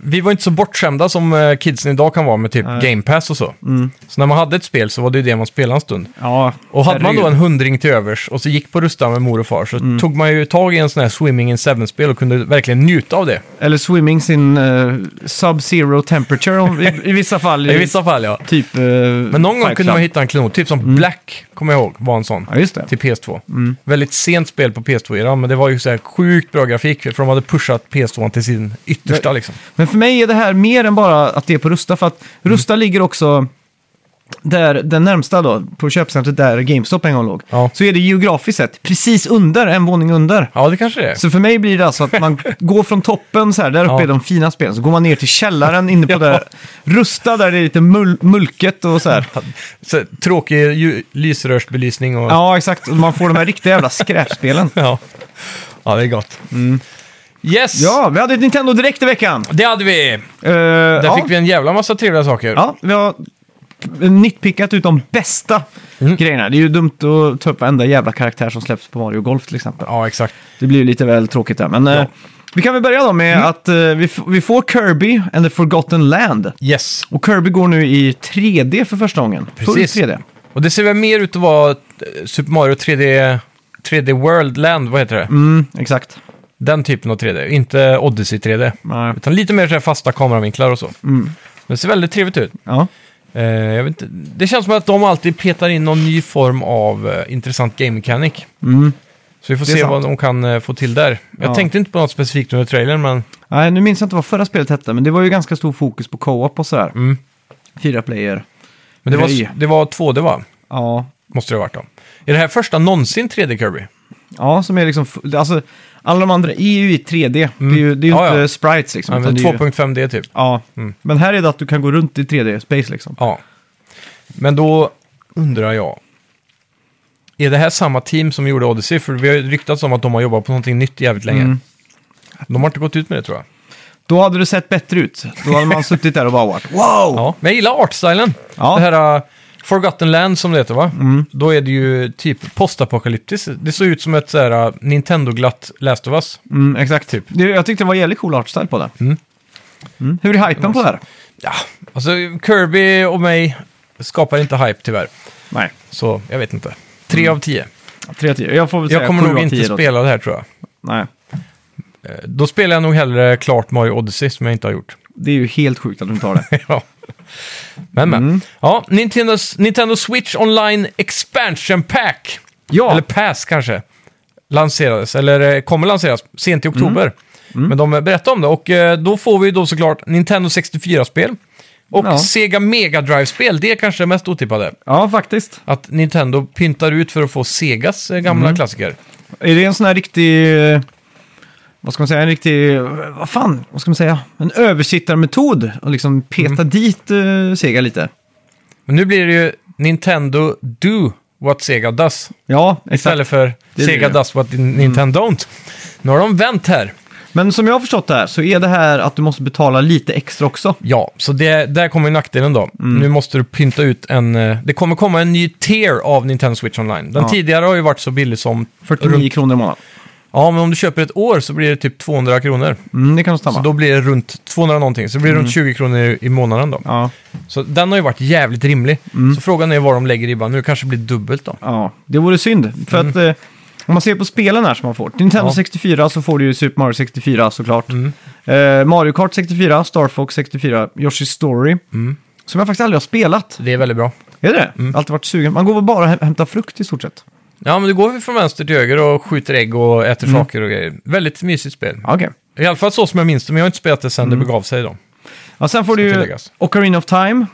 Speaker 2: vi var inte så bortskämda som eh, kidsen idag kan vara med typ Game Pass och så.
Speaker 1: Mm.
Speaker 2: Så när man hade ett spel så var det ju det man spelade en stund.
Speaker 1: Ja,
Speaker 2: Och hade man då
Speaker 1: herregud. Mm.
Speaker 2: en hundring till övers och så gick på rusta med mor och far så tog man ju tag i en sån här Swimming in Seven-spel och kunde verkligen njuta av det.
Speaker 1: Eller Swimming sin eh, Sub-Zero Temperature om- i, i vissa fall.
Speaker 2: I vissa fall ja.
Speaker 1: Typ eh,
Speaker 2: Men någon gång kunde man
Speaker 1: Fight Club. Mm.
Speaker 2: hitta en klon, typ som Black, kommer jag ihåg, var en sån.
Speaker 1: Ja, just det.
Speaker 2: Till PS2. Väldigt sent spel på PS2-eran, men det var ju så här sjukt bra grafik, för de hade pushat PS2 till sin yttersta liksom.
Speaker 1: Men för mig är det här mer än bara att det är på Rusta, för att
Speaker 2: Mm.
Speaker 1: Rusta ligger också där den närmsta då, på köpcentret där GameStop en gång låg.
Speaker 2: Ja.
Speaker 1: Så är det geografiskt sett precis under, en våning under.
Speaker 2: Ja, det kanske det är.
Speaker 1: Så för mig blir det alltså att man går från toppen så här, där uppe
Speaker 2: Ja.
Speaker 1: är de fina spelen, så går man ner till källaren inne på
Speaker 2: Ja.
Speaker 1: där Rusta där det är lite mul- mulket och så här.
Speaker 2: Så, tråkig ju- lysrörsbelysning och...
Speaker 1: Ja, exakt. Och Man får de här riktiga jävla skräpspelen.
Speaker 2: Ja, Ja, det är gott. Yes!
Speaker 1: Mm. Ja, vi hade ett Nintendo direkt i veckan.
Speaker 2: Det hade vi!
Speaker 1: Eh,
Speaker 2: Där
Speaker 1: ja.
Speaker 2: fick vi en jävla massa trevliga saker.
Speaker 1: Ja, vi har nitpickat ut de bästa
Speaker 2: Mm.
Speaker 1: grejerna. Det är ju dumt att ta upp varenda jävla karaktär som släpps på Mario Golf till exempel.
Speaker 2: Ja, exakt.
Speaker 1: Det blir ju lite väl tråkigt där. Men eh, vi kan väl börja då med
Speaker 2: Mm.
Speaker 1: att eh, vi, f- vi får Kirby and the Forgotten Land.
Speaker 2: Yes.
Speaker 1: Och Kirby går nu i 3D för första gången.
Speaker 2: Precis.
Speaker 1: Full 3D.
Speaker 2: Och det ser väl mer ut att vara eh, Super Mario 3D... 3D World Land, vad heter det?
Speaker 1: Mm, exakt.
Speaker 2: Den typen av 3D, inte Odyssey 3D.
Speaker 1: Nej.
Speaker 2: Utan lite mer så här fasta kameravinklar och så.
Speaker 1: Mm.
Speaker 2: Det ser väldigt trevligt ut.
Speaker 1: Ja.
Speaker 2: Eh, jag vet inte. Det känns som att de alltid petar in någon ny form av eh, intressant game mechanic.
Speaker 1: Mm.
Speaker 2: Så vi får
Speaker 1: Det är
Speaker 2: se
Speaker 1: sant.
Speaker 2: vad de kan eh, få till där. Jag
Speaker 1: Ja.
Speaker 2: tänkte inte på något specifikt under trailern, men
Speaker 1: Nej, nu minns jag inte vad förra spelet hette, men det var ju ganska stor fokus på co-op och sådär.
Speaker 2: Mm.
Speaker 1: Fyra player.
Speaker 2: Men det,
Speaker 1: Nej.
Speaker 2: var, det var 2D va?
Speaker 1: Ja,
Speaker 2: Måste det ha varit då. Är det här första någonsin 3D Kirby?
Speaker 1: Ja, som är liksom... Alltså, alla de andra är ju i 3D. Det är ju, det är ju
Speaker 2: Ja,
Speaker 1: inte
Speaker 2: Mm. ja.
Speaker 1: sprites liksom.
Speaker 2: Ja,
Speaker 1: utan
Speaker 2: men
Speaker 1: det är ju,
Speaker 2: 2.5D typ.
Speaker 1: ja. men här är det att du kan gå runt i 3D-space liksom.
Speaker 2: Ja. Men då undrar jag. Är det här samma team som gjorde Odyssey? För vi har ju ryktats om att de har jobbat på någonting nytt jävligt länge.
Speaker 1: Mm.
Speaker 2: De har inte gått ut med det tror jag.
Speaker 1: Då hade det sett bättre ut. Då hade man suttit där och bara varit wow!
Speaker 2: Ja. Men jag gillar artstylen.
Speaker 1: Ja. Mm.
Speaker 2: Det här uh, Forgotten Land som det heter va? Då är det ju typ postapokalyptiskt. Det såg ut som ett så här, uh, Nintendo-glatt Last of Us.
Speaker 1: Mm, exakt. Typ. Det, jag tyckte det var jävligt cool artstyle på det. Mm. Hur är hypen på det här?
Speaker 2: Ja, alltså Kirby och mig skapar inte hype tyvärr.
Speaker 1: Nej,
Speaker 2: Så jag vet inte. 3 av 10.
Speaker 1: 3 10. Jag får väl Mm. säga
Speaker 2: Jag kommer
Speaker 1: sju
Speaker 2: nog
Speaker 1: av
Speaker 2: inte
Speaker 1: 10 då.
Speaker 2: spela det här tror jag.
Speaker 1: Nej,
Speaker 2: Eh, Då spelar jag nog hellre klart Mario Odyssey som jag inte har gjort.
Speaker 1: det är ju helt sjukt att du inte har det.
Speaker 2: ja. Men, men.
Speaker 1: Mm.
Speaker 2: Ja, Nintendo, Nintendo Switch Online Expansion Pack.
Speaker 1: Ja.
Speaker 2: Eller Pass kanske. Lanserades, eller eh, kommer lanseras, sent
Speaker 1: Mm.
Speaker 2: i oktober. Men de berättade om det och eh, då får vi ju då såklart Nintendo 64-spel. Och
Speaker 1: Ja.
Speaker 2: Sega Mega Drive-spel, det är kanske det mest otippade.
Speaker 1: Ja, faktiskt.
Speaker 2: Att Nintendo pyntar ut för att få Segas eh,
Speaker 1: Mm.
Speaker 2: gamla klassiker.
Speaker 1: Är det en sån här riktig... eh, Vad ska man säga? En riktig... eh, Vad fan? Vad ska man säga? En översittarmetod. Och liksom peta
Speaker 2: Mm.
Speaker 1: dit eh, Sega lite.
Speaker 2: Men nu blir det ju Nintendo Do What Sega Does.
Speaker 1: Ja, exakt.
Speaker 2: Istället för
Speaker 1: blir
Speaker 2: Sega
Speaker 1: det.
Speaker 2: Does What Nintendo Don't. Nu har de vänt här.
Speaker 1: Men som jag har förstått det här så är det här att du måste betala lite extra också.
Speaker 2: Ja, så det, där kommer ju nackdelen då.
Speaker 1: Mm.
Speaker 2: Nu måste du pynta ut en... eh, Det kommer komma en ny tier av Nintendo Switch Online. Den
Speaker 1: Ja.
Speaker 2: tidigare har ju varit så billig som...
Speaker 1: 49
Speaker 2: runt-
Speaker 1: kronor i månaden.
Speaker 2: Ja, men om du köper ett år så blir det typ 200 kronor.
Speaker 1: Mm, det kan nog
Speaker 2: Så
Speaker 1: stämma.
Speaker 2: då blir det runt 200 någonting. Så det blir runt 20 kronor i, i månaden då.
Speaker 1: Mm. Ja, Mm.
Speaker 2: Så den har ju varit jävligt rimlig. Så frågan är vad de lägger ribban nu. kanske det blir dubbelt då.
Speaker 1: ja, det vore synd. För att eh, om man ser på spelen här som man får. Nintendo
Speaker 2: Mm. Ja. Mm.
Speaker 1: 64 så får du ju Super Mario 64 såklart. Eh, Mario Kart 64, Star Fox 64, Yoshi's Story.
Speaker 2: Mm.
Speaker 1: Som jag faktiskt aldrig har spelat.
Speaker 2: Det är väldigt bra.
Speaker 1: Är det det? Alltid varit sugen. Man går väl bara och häm- hämtar frukt i stort sett.
Speaker 2: Mm. Ja, men du går vi från vänster till höger och skjuter ägg och äter
Speaker 1: Mm.
Speaker 2: saker och grejer. Väldigt mysigt spel.
Speaker 1: Ja, Okej.
Speaker 2: I alla fall så som jag minns det, men jag har inte spelat det sen
Speaker 1: Mm.
Speaker 2: det begav sig då.
Speaker 1: Ja, sen får du ju
Speaker 2: tilläggas.
Speaker 1: Ocarina of Time.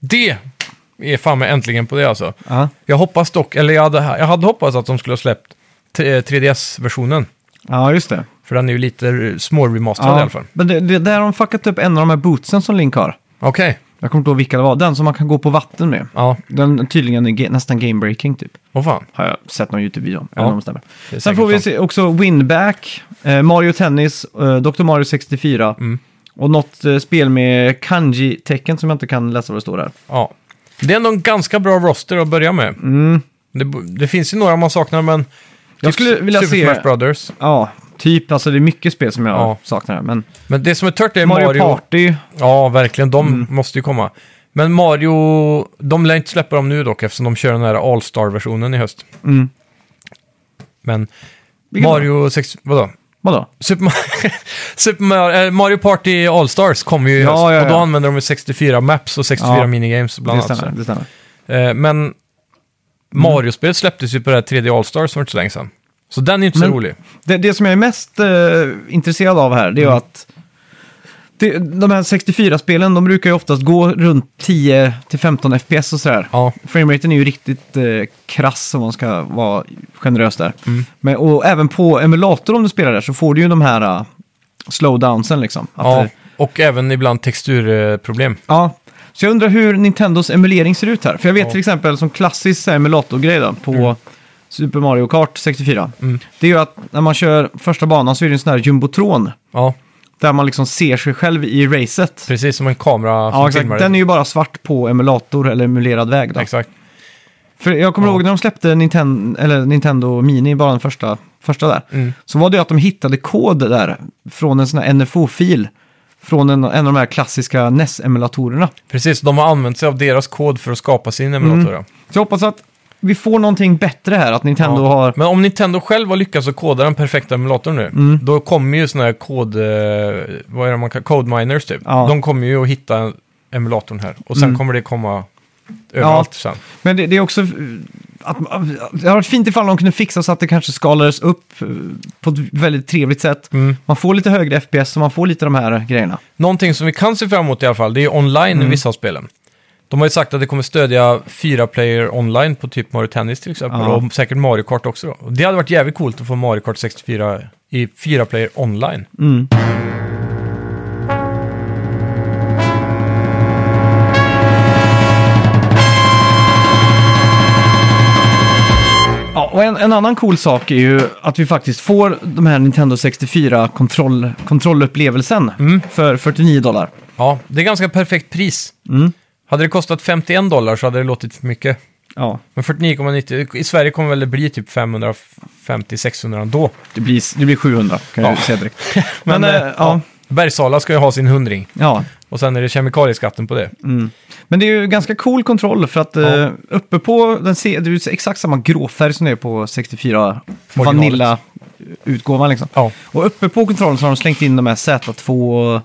Speaker 2: Det är fan med äntligen på det alltså.
Speaker 1: Ja.
Speaker 2: Jag hoppas dock, eller jag hade, jag hade hoppats att de skulle ha släppt t- eh, 3DS-versionen.
Speaker 1: Ja, just det.
Speaker 2: För den är ju lite r- småremasterad i alla fall.
Speaker 1: Men det, det, där har de fuckat upp en av de här bootsen som Link har.
Speaker 2: Okej,
Speaker 1: Jag kommer inte ihåg vilka det var. Den som man kan gå på vatten med.
Speaker 2: ja.
Speaker 1: Den tydligen är ge- nästan game-breaking typ.
Speaker 2: Åh fan.
Speaker 1: Har jag sett någon YouTube-video om.
Speaker 2: Ja.
Speaker 1: Ja. stämmer.
Speaker 2: Det är
Speaker 1: Sen
Speaker 2: säkert
Speaker 1: får vi
Speaker 2: sant.
Speaker 1: se också Winback, eh, Mario Tennis, eh, Dr. Mario 64
Speaker 2: Mm.
Speaker 1: och något eh, spel med kanji-tecken som jag inte kan läsa vad det står där.
Speaker 2: Ja. Det är ändå en ganska bra roster att börja med. Det, b- det finns ju några man saknar, men...
Speaker 1: Mm. Jag
Speaker 2: typ
Speaker 1: skulle vilja
Speaker 2: Super
Speaker 1: se-
Speaker 2: Smash Brothers.
Speaker 1: Ja, typ. Alltså det är mycket spel som jag
Speaker 2: Ja.
Speaker 1: saknar. Men
Speaker 2: Men det som är tört är
Speaker 1: Mario,
Speaker 2: Mario...
Speaker 1: Party, Mm.
Speaker 2: Ja, verkligen. De måste ju komma. Men Mario, de lär inte släppa dem nu dock eftersom de kör den här All-Star-versionen i höst.
Speaker 1: Mm.
Speaker 2: Men
Speaker 1: Vilken
Speaker 2: Mario 6, vadå?
Speaker 1: vadå?
Speaker 2: Super Mario, Super Mario, eh, Mario Party All-Stars kommer ju i
Speaker 1: Ja,
Speaker 2: höst.
Speaker 1: ja, ja.
Speaker 2: Och då använder de ju 64 maps och 64
Speaker 1: Ja,
Speaker 2: minigames bland
Speaker 1: Det
Speaker 2: annat.
Speaker 1: stämmer, det stämmer.
Speaker 2: Eh, Men Mario-spelet släpptes ju på det här 3D All-Stars för inte så länge sedan. Så den är ju inte så
Speaker 1: Men-
Speaker 2: rolig.
Speaker 1: Det, det som jag är mest eh, intresserad av här, det är
Speaker 2: Mm.
Speaker 1: ju att det, de här 64-spelen, de brukar ju oftast gå runt 10-15 FPS och sådär.
Speaker 2: Ja,
Speaker 1: Frameraten är ju riktigt eh, krass om man ska vara generös där.
Speaker 2: Mm.
Speaker 1: Men, och även på emulator om du spelar där så får du ju de här eh, slowdownsen liksom. Att
Speaker 2: ja.
Speaker 1: det-
Speaker 2: och även ibland texturproblem.
Speaker 1: ja. Så jag undrar hur Nintendos emulering ser ut här. För jag vet
Speaker 2: Ja. Mm.
Speaker 1: till exempel som klassisk så här emulatorgrej då, på Super Mario Kart 64. Det är ju att när man kör första banan så är det en sån här jumbotron.
Speaker 2: Ja,
Speaker 1: Där man liksom ser sig själv i racet.
Speaker 2: precis som en kamera
Speaker 1: Ja,
Speaker 2: som
Speaker 1: exakt.
Speaker 2: filmar
Speaker 1: Den är ju bara svart på emulator eller emulerad väg. Då.
Speaker 2: Exakt.
Speaker 1: För jag kommer
Speaker 2: Ja.
Speaker 1: ihåg när de släppte Nintendo, eller Nintendo Mini, bara den första, första där.
Speaker 2: Mm.
Speaker 1: Så var det ju att de hittade kod där från en sån här NFO-fil. Från en, en av de här klassiska E NES-emulatorerna.
Speaker 2: Precis, de har använt sig av deras kod för att skapa sin emulator. ja.
Speaker 1: Så jag hoppas att vi får någonting bättre här, att Nintendo
Speaker 2: Ja.
Speaker 1: har...
Speaker 2: Men om Nintendo själv har lyckats att koda den perfekta emulatorn nu,
Speaker 1: Mm.
Speaker 2: då kommer ju sådana här kod... eh, Vad är det man kallar? Code miners typ.
Speaker 1: Ja. Mm.
Speaker 2: De kommer ju att hitta emulatorn här. Och sen kommer det komma överallt sen.
Speaker 1: Men det, det är också... eh, Att, det hade varit fint ifall de kunde fixa så att det kanske skalades upp eh, på ett väldigt trevligt sätt.
Speaker 2: Mm.
Speaker 1: Man får lite högre FPS och man får lite de här grejerna.
Speaker 2: Någonting som vi kan se fram emot i alla fall, det är online
Speaker 1: Mm.
Speaker 2: i vissa av spelen. De har ju sagt att det kommer stödja fyra player online på typ Mario Tennis till exempel.
Speaker 1: Ja.
Speaker 2: Och säkert Mario Kart också då. Och Det hade varit jävligt coolt att få Mario Kart 64 i fyra player online.
Speaker 1: Ja, och en, en annan cool sak är ju att vi faktiskt får de här Nintendo 64-kontrollupplevelsen kontrollupplevelsen för 49 dollar.
Speaker 2: Ja, det är ganska perfekt pris.
Speaker 1: Mm.
Speaker 2: Hade det kostat 51 dollar så hade det låtit för mycket.
Speaker 1: Ja,
Speaker 2: Men 49,90, i Sverige kommer väl det bli typ 550-600 ändå.
Speaker 1: det blir, det blir 700 kan jag
Speaker 2: Ja.
Speaker 1: ju säga direkt. Men,
Speaker 2: Men,
Speaker 1: eh,
Speaker 2: eh,
Speaker 1: ja,
Speaker 2: Bergsala ska ju ha sin hundring.
Speaker 1: ja.
Speaker 2: Och sen är det kemikalieskatten på det.
Speaker 1: Mm. Men det är ju ganska cool kontroll för att eh, uppe på den ser det är ju exakt samma gråfärg som det är på 64
Speaker 2: Originalet.
Speaker 1: Vanilla-utgåvan liksom.
Speaker 2: Ja. Mm.
Speaker 1: Och uppe på kontrollen så har de slängt in de här Z2 och,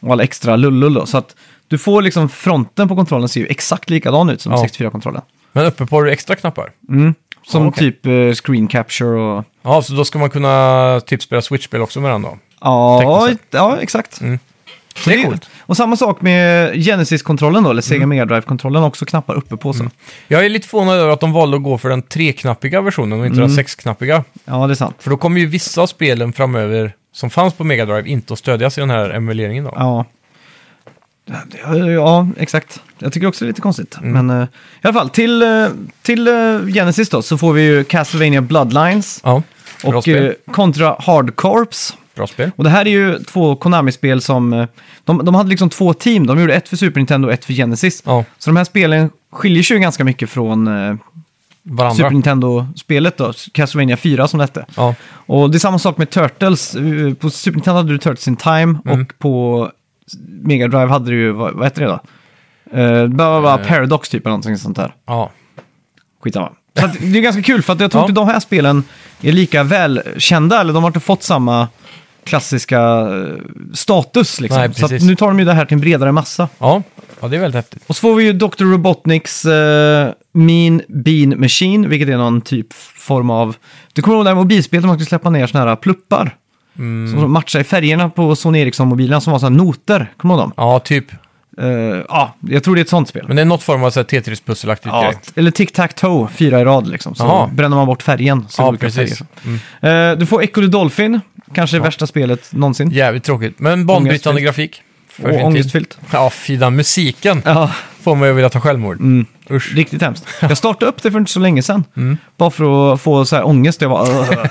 Speaker 1: och alla extra lullull då, Så att Du får liksom fronten på kontrollen ser ju exakt likadan ut som
Speaker 2: Ja.
Speaker 1: 64-kontrollen.
Speaker 2: Men uppe på har du extra knappar.
Speaker 1: Mm. Som
Speaker 2: Ja, okej.
Speaker 1: typ eh, screen capture och...
Speaker 2: Ja, så då ska man kunna typ spela Switch-spel också med den då.
Speaker 1: Ja,
Speaker 2: Tekniskt
Speaker 1: ja exakt.
Speaker 2: Mm.
Speaker 1: Så
Speaker 2: Det är coolt. Mm.
Speaker 1: Och samma sak med Genesis-kontrollen då, eller Sega Mega Drive-kontrollen, också knappar uppe på sig.
Speaker 2: Jag är lite förvånad över att de valde att gå för den treknappiga versionen och inte
Speaker 1: Mm.
Speaker 2: den sexknappiga.
Speaker 1: Ja, det är sant.
Speaker 2: För då kommer ju vissa av spelen framöver som fanns på Mega Drive inte att stödjas i den här emuleringen då.
Speaker 1: Ja. Ja, ja, exakt. Jag tycker också det är lite konstigt.
Speaker 2: Mm.
Speaker 1: Men eh, i alla fall, till, eh, till eh, Genesis då så får vi ju Castlevania Bloodlines
Speaker 2: Ja, bra
Speaker 1: och
Speaker 2: spel.
Speaker 1: eh, Contra Hard Corps.
Speaker 2: Bra spel.
Speaker 1: Och det här är ju två Konami-spel som... eh, De, de hade liksom två team. De gjorde ett för Super Nintendo och ett för Genesis.
Speaker 2: Ja,
Speaker 1: Så de här spelen skiljer sig ju ganska mycket från eh,
Speaker 2: varandra.
Speaker 1: Super Nintendo-spelet då, Castlevania 4 som det hette.
Speaker 2: Ja,
Speaker 1: Och det är samma sak med Turtles. Eh, På Super Nintendo hade du Turtles in Time
Speaker 2: Mm.
Speaker 1: och på Mega Drive hade du ju, vad, vad heter det då? Uh, bara, bara
Speaker 2: Eh.
Speaker 1: Paradox typ eller någonting sånt där.
Speaker 2: ja.
Speaker 1: Skitsamma. Så att, det är ganska kul för att jag tror
Speaker 2: Ja.
Speaker 1: inte de här spelen är lika välkända eller de har inte fått samma klassiska eh, status liksom.
Speaker 2: Nej,
Speaker 1: så att
Speaker 2: precis.
Speaker 1: nu tar de ju det här till en bredare massa.
Speaker 2: Ja. ja, det är väldigt häftigt.
Speaker 1: Och så får vi ju Dr. Robotniks eh, Mean Bean Machine, vilket är någon typ form av... Du kommer ihåg det här mobilspelet där man skulle släppa ner såna här pluppar?
Speaker 2: Mm.
Speaker 1: Som matchar i färgerna på Sony Ericsson-mobilerna som var såna här noter. Kommer du ihåg dem?
Speaker 2: Ja, typ.
Speaker 1: Eh, Ja, jag tror det är ett sånt spel.
Speaker 2: Men det är något form av så här Tetris-pusselaktigt
Speaker 1: Ja,
Speaker 2: grej.
Speaker 1: eller tic tac toe fyra i rad liksom. Så
Speaker 2: Jaha.
Speaker 1: bränner man bort färgen. Så
Speaker 2: Ja,
Speaker 1: olika
Speaker 2: precis. Mm.
Speaker 1: Färger. Eh, du får Echo the Dolphin, kanske det värsta spelet någonsin.
Speaker 2: Jävligt tråkigt. Men banbrytande
Speaker 1: Ångestfyllt.
Speaker 2: grafik. För
Speaker 1: och
Speaker 2: sin tid.
Speaker 1: ångestfyllt.
Speaker 2: Ja, fy den musiken
Speaker 1: Ja,
Speaker 2: får mig att vilja ta självmord. Usch.
Speaker 1: riktigt hemskt. Jag startade upp det för inte så länge sedan.
Speaker 2: Mm.
Speaker 1: Bara för att få så här ångest. Jag bara, "Ugh."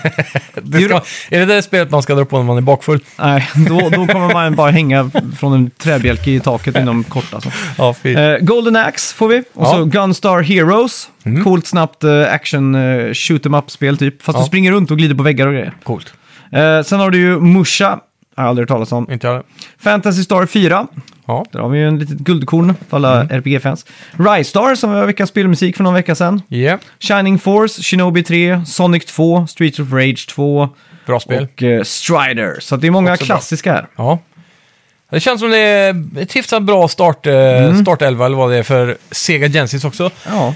Speaker 2: Det ska, är det det spelet man ska dra på när man är bakfull?
Speaker 1: Nej, då, då kommer man bara hänga från en träbjälke i taket inom kort alltså.
Speaker 2: Ja, fy.
Speaker 1: Eh, Golden Axe får vi. Och så
Speaker 2: Ja. Mm.
Speaker 1: Gunstar Heroes. Coolt, snabbt eh, action eh, shoot em up-spel typ. Fast
Speaker 2: Ja.
Speaker 1: du springer runt och glider på väggar och grejer.
Speaker 2: Coolt.
Speaker 1: Eh, sen har du ju Musha. Har jag aldrig hört talas om.
Speaker 2: Inte jag
Speaker 1: Fantasy Star 4.
Speaker 2: Ja.
Speaker 1: Där har vi ju en litet guldkorn för alla
Speaker 2: Mm.
Speaker 1: RPG-fans. Rystar som var veckans spelmusik för någon vecka sedan.
Speaker 2: Yeah.
Speaker 1: Shining Force, Shinobi 3, Sonic 2, Streets of Rage 2
Speaker 2: Bra spel.
Speaker 1: och eh, Strider. Så att det är många
Speaker 2: Också bra.
Speaker 1: klassiska här.
Speaker 2: Ja. Det känns som det är ett hyfsat bra start, eh, startelva eller vad det är för Sega Genesis också.
Speaker 1: Ja.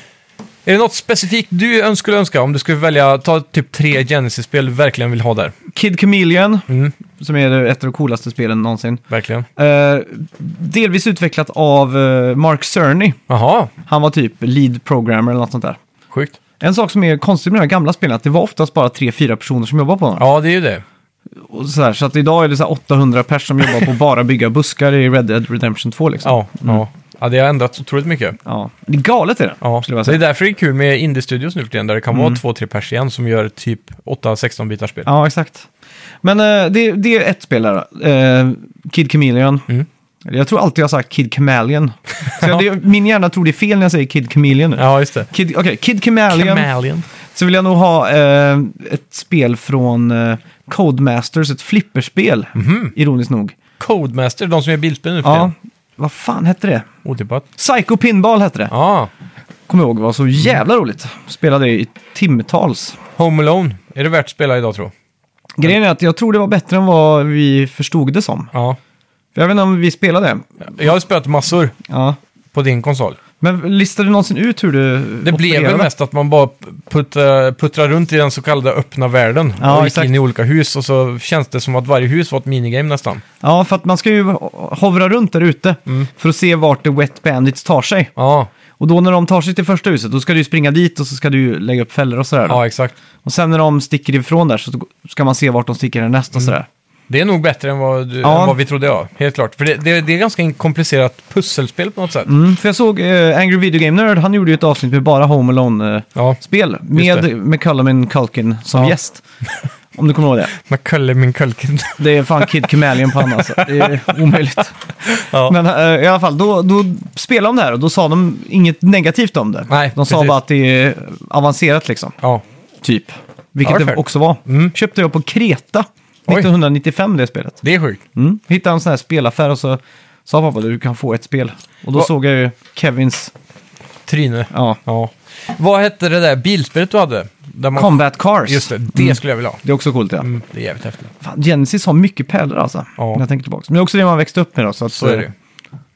Speaker 2: Är det något specifikt du öns- skulle önska om du skulle välja, ta typ tre Genesis-spel du verkligen vill ha där?
Speaker 1: Kid Chameleon,
Speaker 2: Mm.
Speaker 1: som är ett av de coolaste spelen någonsin.
Speaker 2: Verkligen.
Speaker 1: Eh, delvis utvecklat av eh, Mark Cerny.
Speaker 2: Jaha,
Speaker 1: Han var typ lead programmer eller något sånt där.
Speaker 2: sjukt.
Speaker 1: En sak som är konstig med de här gamla spelen är att det var oftast bara 3-4 personer som jobbade på dem.
Speaker 2: Ja, det är ju det.
Speaker 1: Och så, här, så att idag är det så här 800 pers som jobbar på att bara bygga buskar i Red Dead Redemption 2 liksom.
Speaker 2: Ja, ja. ja det har ändrats otroligt mycket.
Speaker 1: Ja. Det är galet är det,
Speaker 2: Ja.
Speaker 1: skulle jag
Speaker 2: Det är
Speaker 1: säga. Mm.
Speaker 2: därför det är kul med indie-studios nu för tiden, där det kan vara två, tre pers igen som gör typ 8-16 bitars spel.
Speaker 1: Ja, exakt. Men eh, det, det är ett spel där. då. Eh, Kid Chameleon.
Speaker 2: Mm.
Speaker 1: Eller Jag tror alltid jag har sagt Kid Chameleon. Så jag, det, min hjärna tror det är fel när jag säger Kid Chameleon nu.
Speaker 2: Ja, just det.
Speaker 1: Kid, okej, Kid Chameleon.
Speaker 2: Chameleon.
Speaker 1: Så vill jag nog ha eh, ett spel från eh, Codemasters, ett flipperspel.
Speaker 2: Mhm.
Speaker 1: Ironiskt nog.
Speaker 2: Codemaster, de som gör bilspel nu för
Speaker 1: Ja,
Speaker 2: tiden.
Speaker 1: vad fan hette det?
Speaker 2: Otippat.
Speaker 1: Psycho Pinball hette det.
Speaker 2: Ja, Mm.
Speaker 1: Kommer jag ihåg, det var så jävla roligt. Spelade i timtals.
Speaker 2: Home Alone. Är det värt att spela idag tror
Speaker 1: Grejen är att jag tror det var bättre än vad vi förstod det som.
Speaker 2: Ja.
Speaker 1: För jag vet inte om vi spelade det.
Speaker 2: Jag har spelat massor
Speaker 1: Ja.
Speaker 2: på din konsol.
Speaker 1: Men listade du någonsin ut hur du
Speaker 2: Det blev väl mest att man bara putta, puttrade runt i den så kallade öppna världen.
Speaker 1: Ja,
Speaker 2: och gick
Speaker 1: exakt.
Speaker 2: in i olika hus och så känns det som att varje hus var ett minigame nästan.
Speaker 1: Ja, för att man ska ju hovra runt där ute
Speaker 2: Mm.
Speaker 1: för att se vart The Wet Bandits tar sig.
Speaker 2: Ja,
Speaker 1: Och då när de tar sig till första huset, då ska du ju springa dit och så ska du ju lägga upp fällor och sådär. då.
Speaker 2: ja exakt.
Speaker 1: Och sen när de sticker ifrån där så ska man se vart de sticker härnäst
Speaker 2: Mm.
Speaker 1: och sådär.
Speaker 2: Det är nog bättre än vad, du,
Speaker 1: Ja.
Speaker 2: än vad vi trodde, ja. Helt klart. För det, det, det är ganska komplicerat pusselspel på något sätt.
Speaker 1: Mm, för jag såg eh, Angry Video Game Nerd, han gjorde ju ett avsnitt med bara Home Alone-spel.
Speaker 2: Ja, det.
Speaker 1: med McCullum and Culkin som
Speaker 2: Ja.
Speaker 1: gäst. Om du kommer ihåg det.
Speaker 2: McCulley min Culkin.
Speaker 1: Det är fan Kid Chameleon på honom alltså. Det är omöjligt.
Speaker 2: Ja.
Speaker 1: Men eh, i alla fall, då, då spelade de det här och då sa de inget negativt om det.
Speaker 2: Nej,
Speaker 1: de sa
Speaker 2: precis.
Speaker 1: bara att det är avancerat liksom.
Speaker 2: ja.
Speaker 1: Typ. Vilket det
Speaker 2: Perfect.
Speaker 1: också var.
Speaker 2: Mm.
Speaker 1: Köpte jag på Kreta
Speaker 2: Oj.
Speaker 1: 1995 det spelet.
Speaker 2: Det är sjukt.
Speaker 1: Mm. Hittade en sån här spelaffär och så sa pappa du kan få ett spel. Och då
Speaker 2: Va-
Speaker 1: såg jag ju Kevins
Speaker 2: Trine.
Speaker 1: ja,
Speaker 2: Ja. Vad hette det där bilspelet du hade? Där man...
Speaker 1: Combat Cars.
Speaker 2: Just det, det
Speaker 1: Mm.
Speaker 2: skulle jag vilja ha.
Speaker 1: Det är också coolt ja.
Speaker 2: Mm, det är jävligt häftigt.
Speaker 1: Fan, Genesis har mycket pärlor alltså.
Speaker 2: Ja.
Speaker 1: När jag tänker tillbaka. Men det är också det man växte upp med då. Så, att, eh,
Speaker 2: Så är det ju.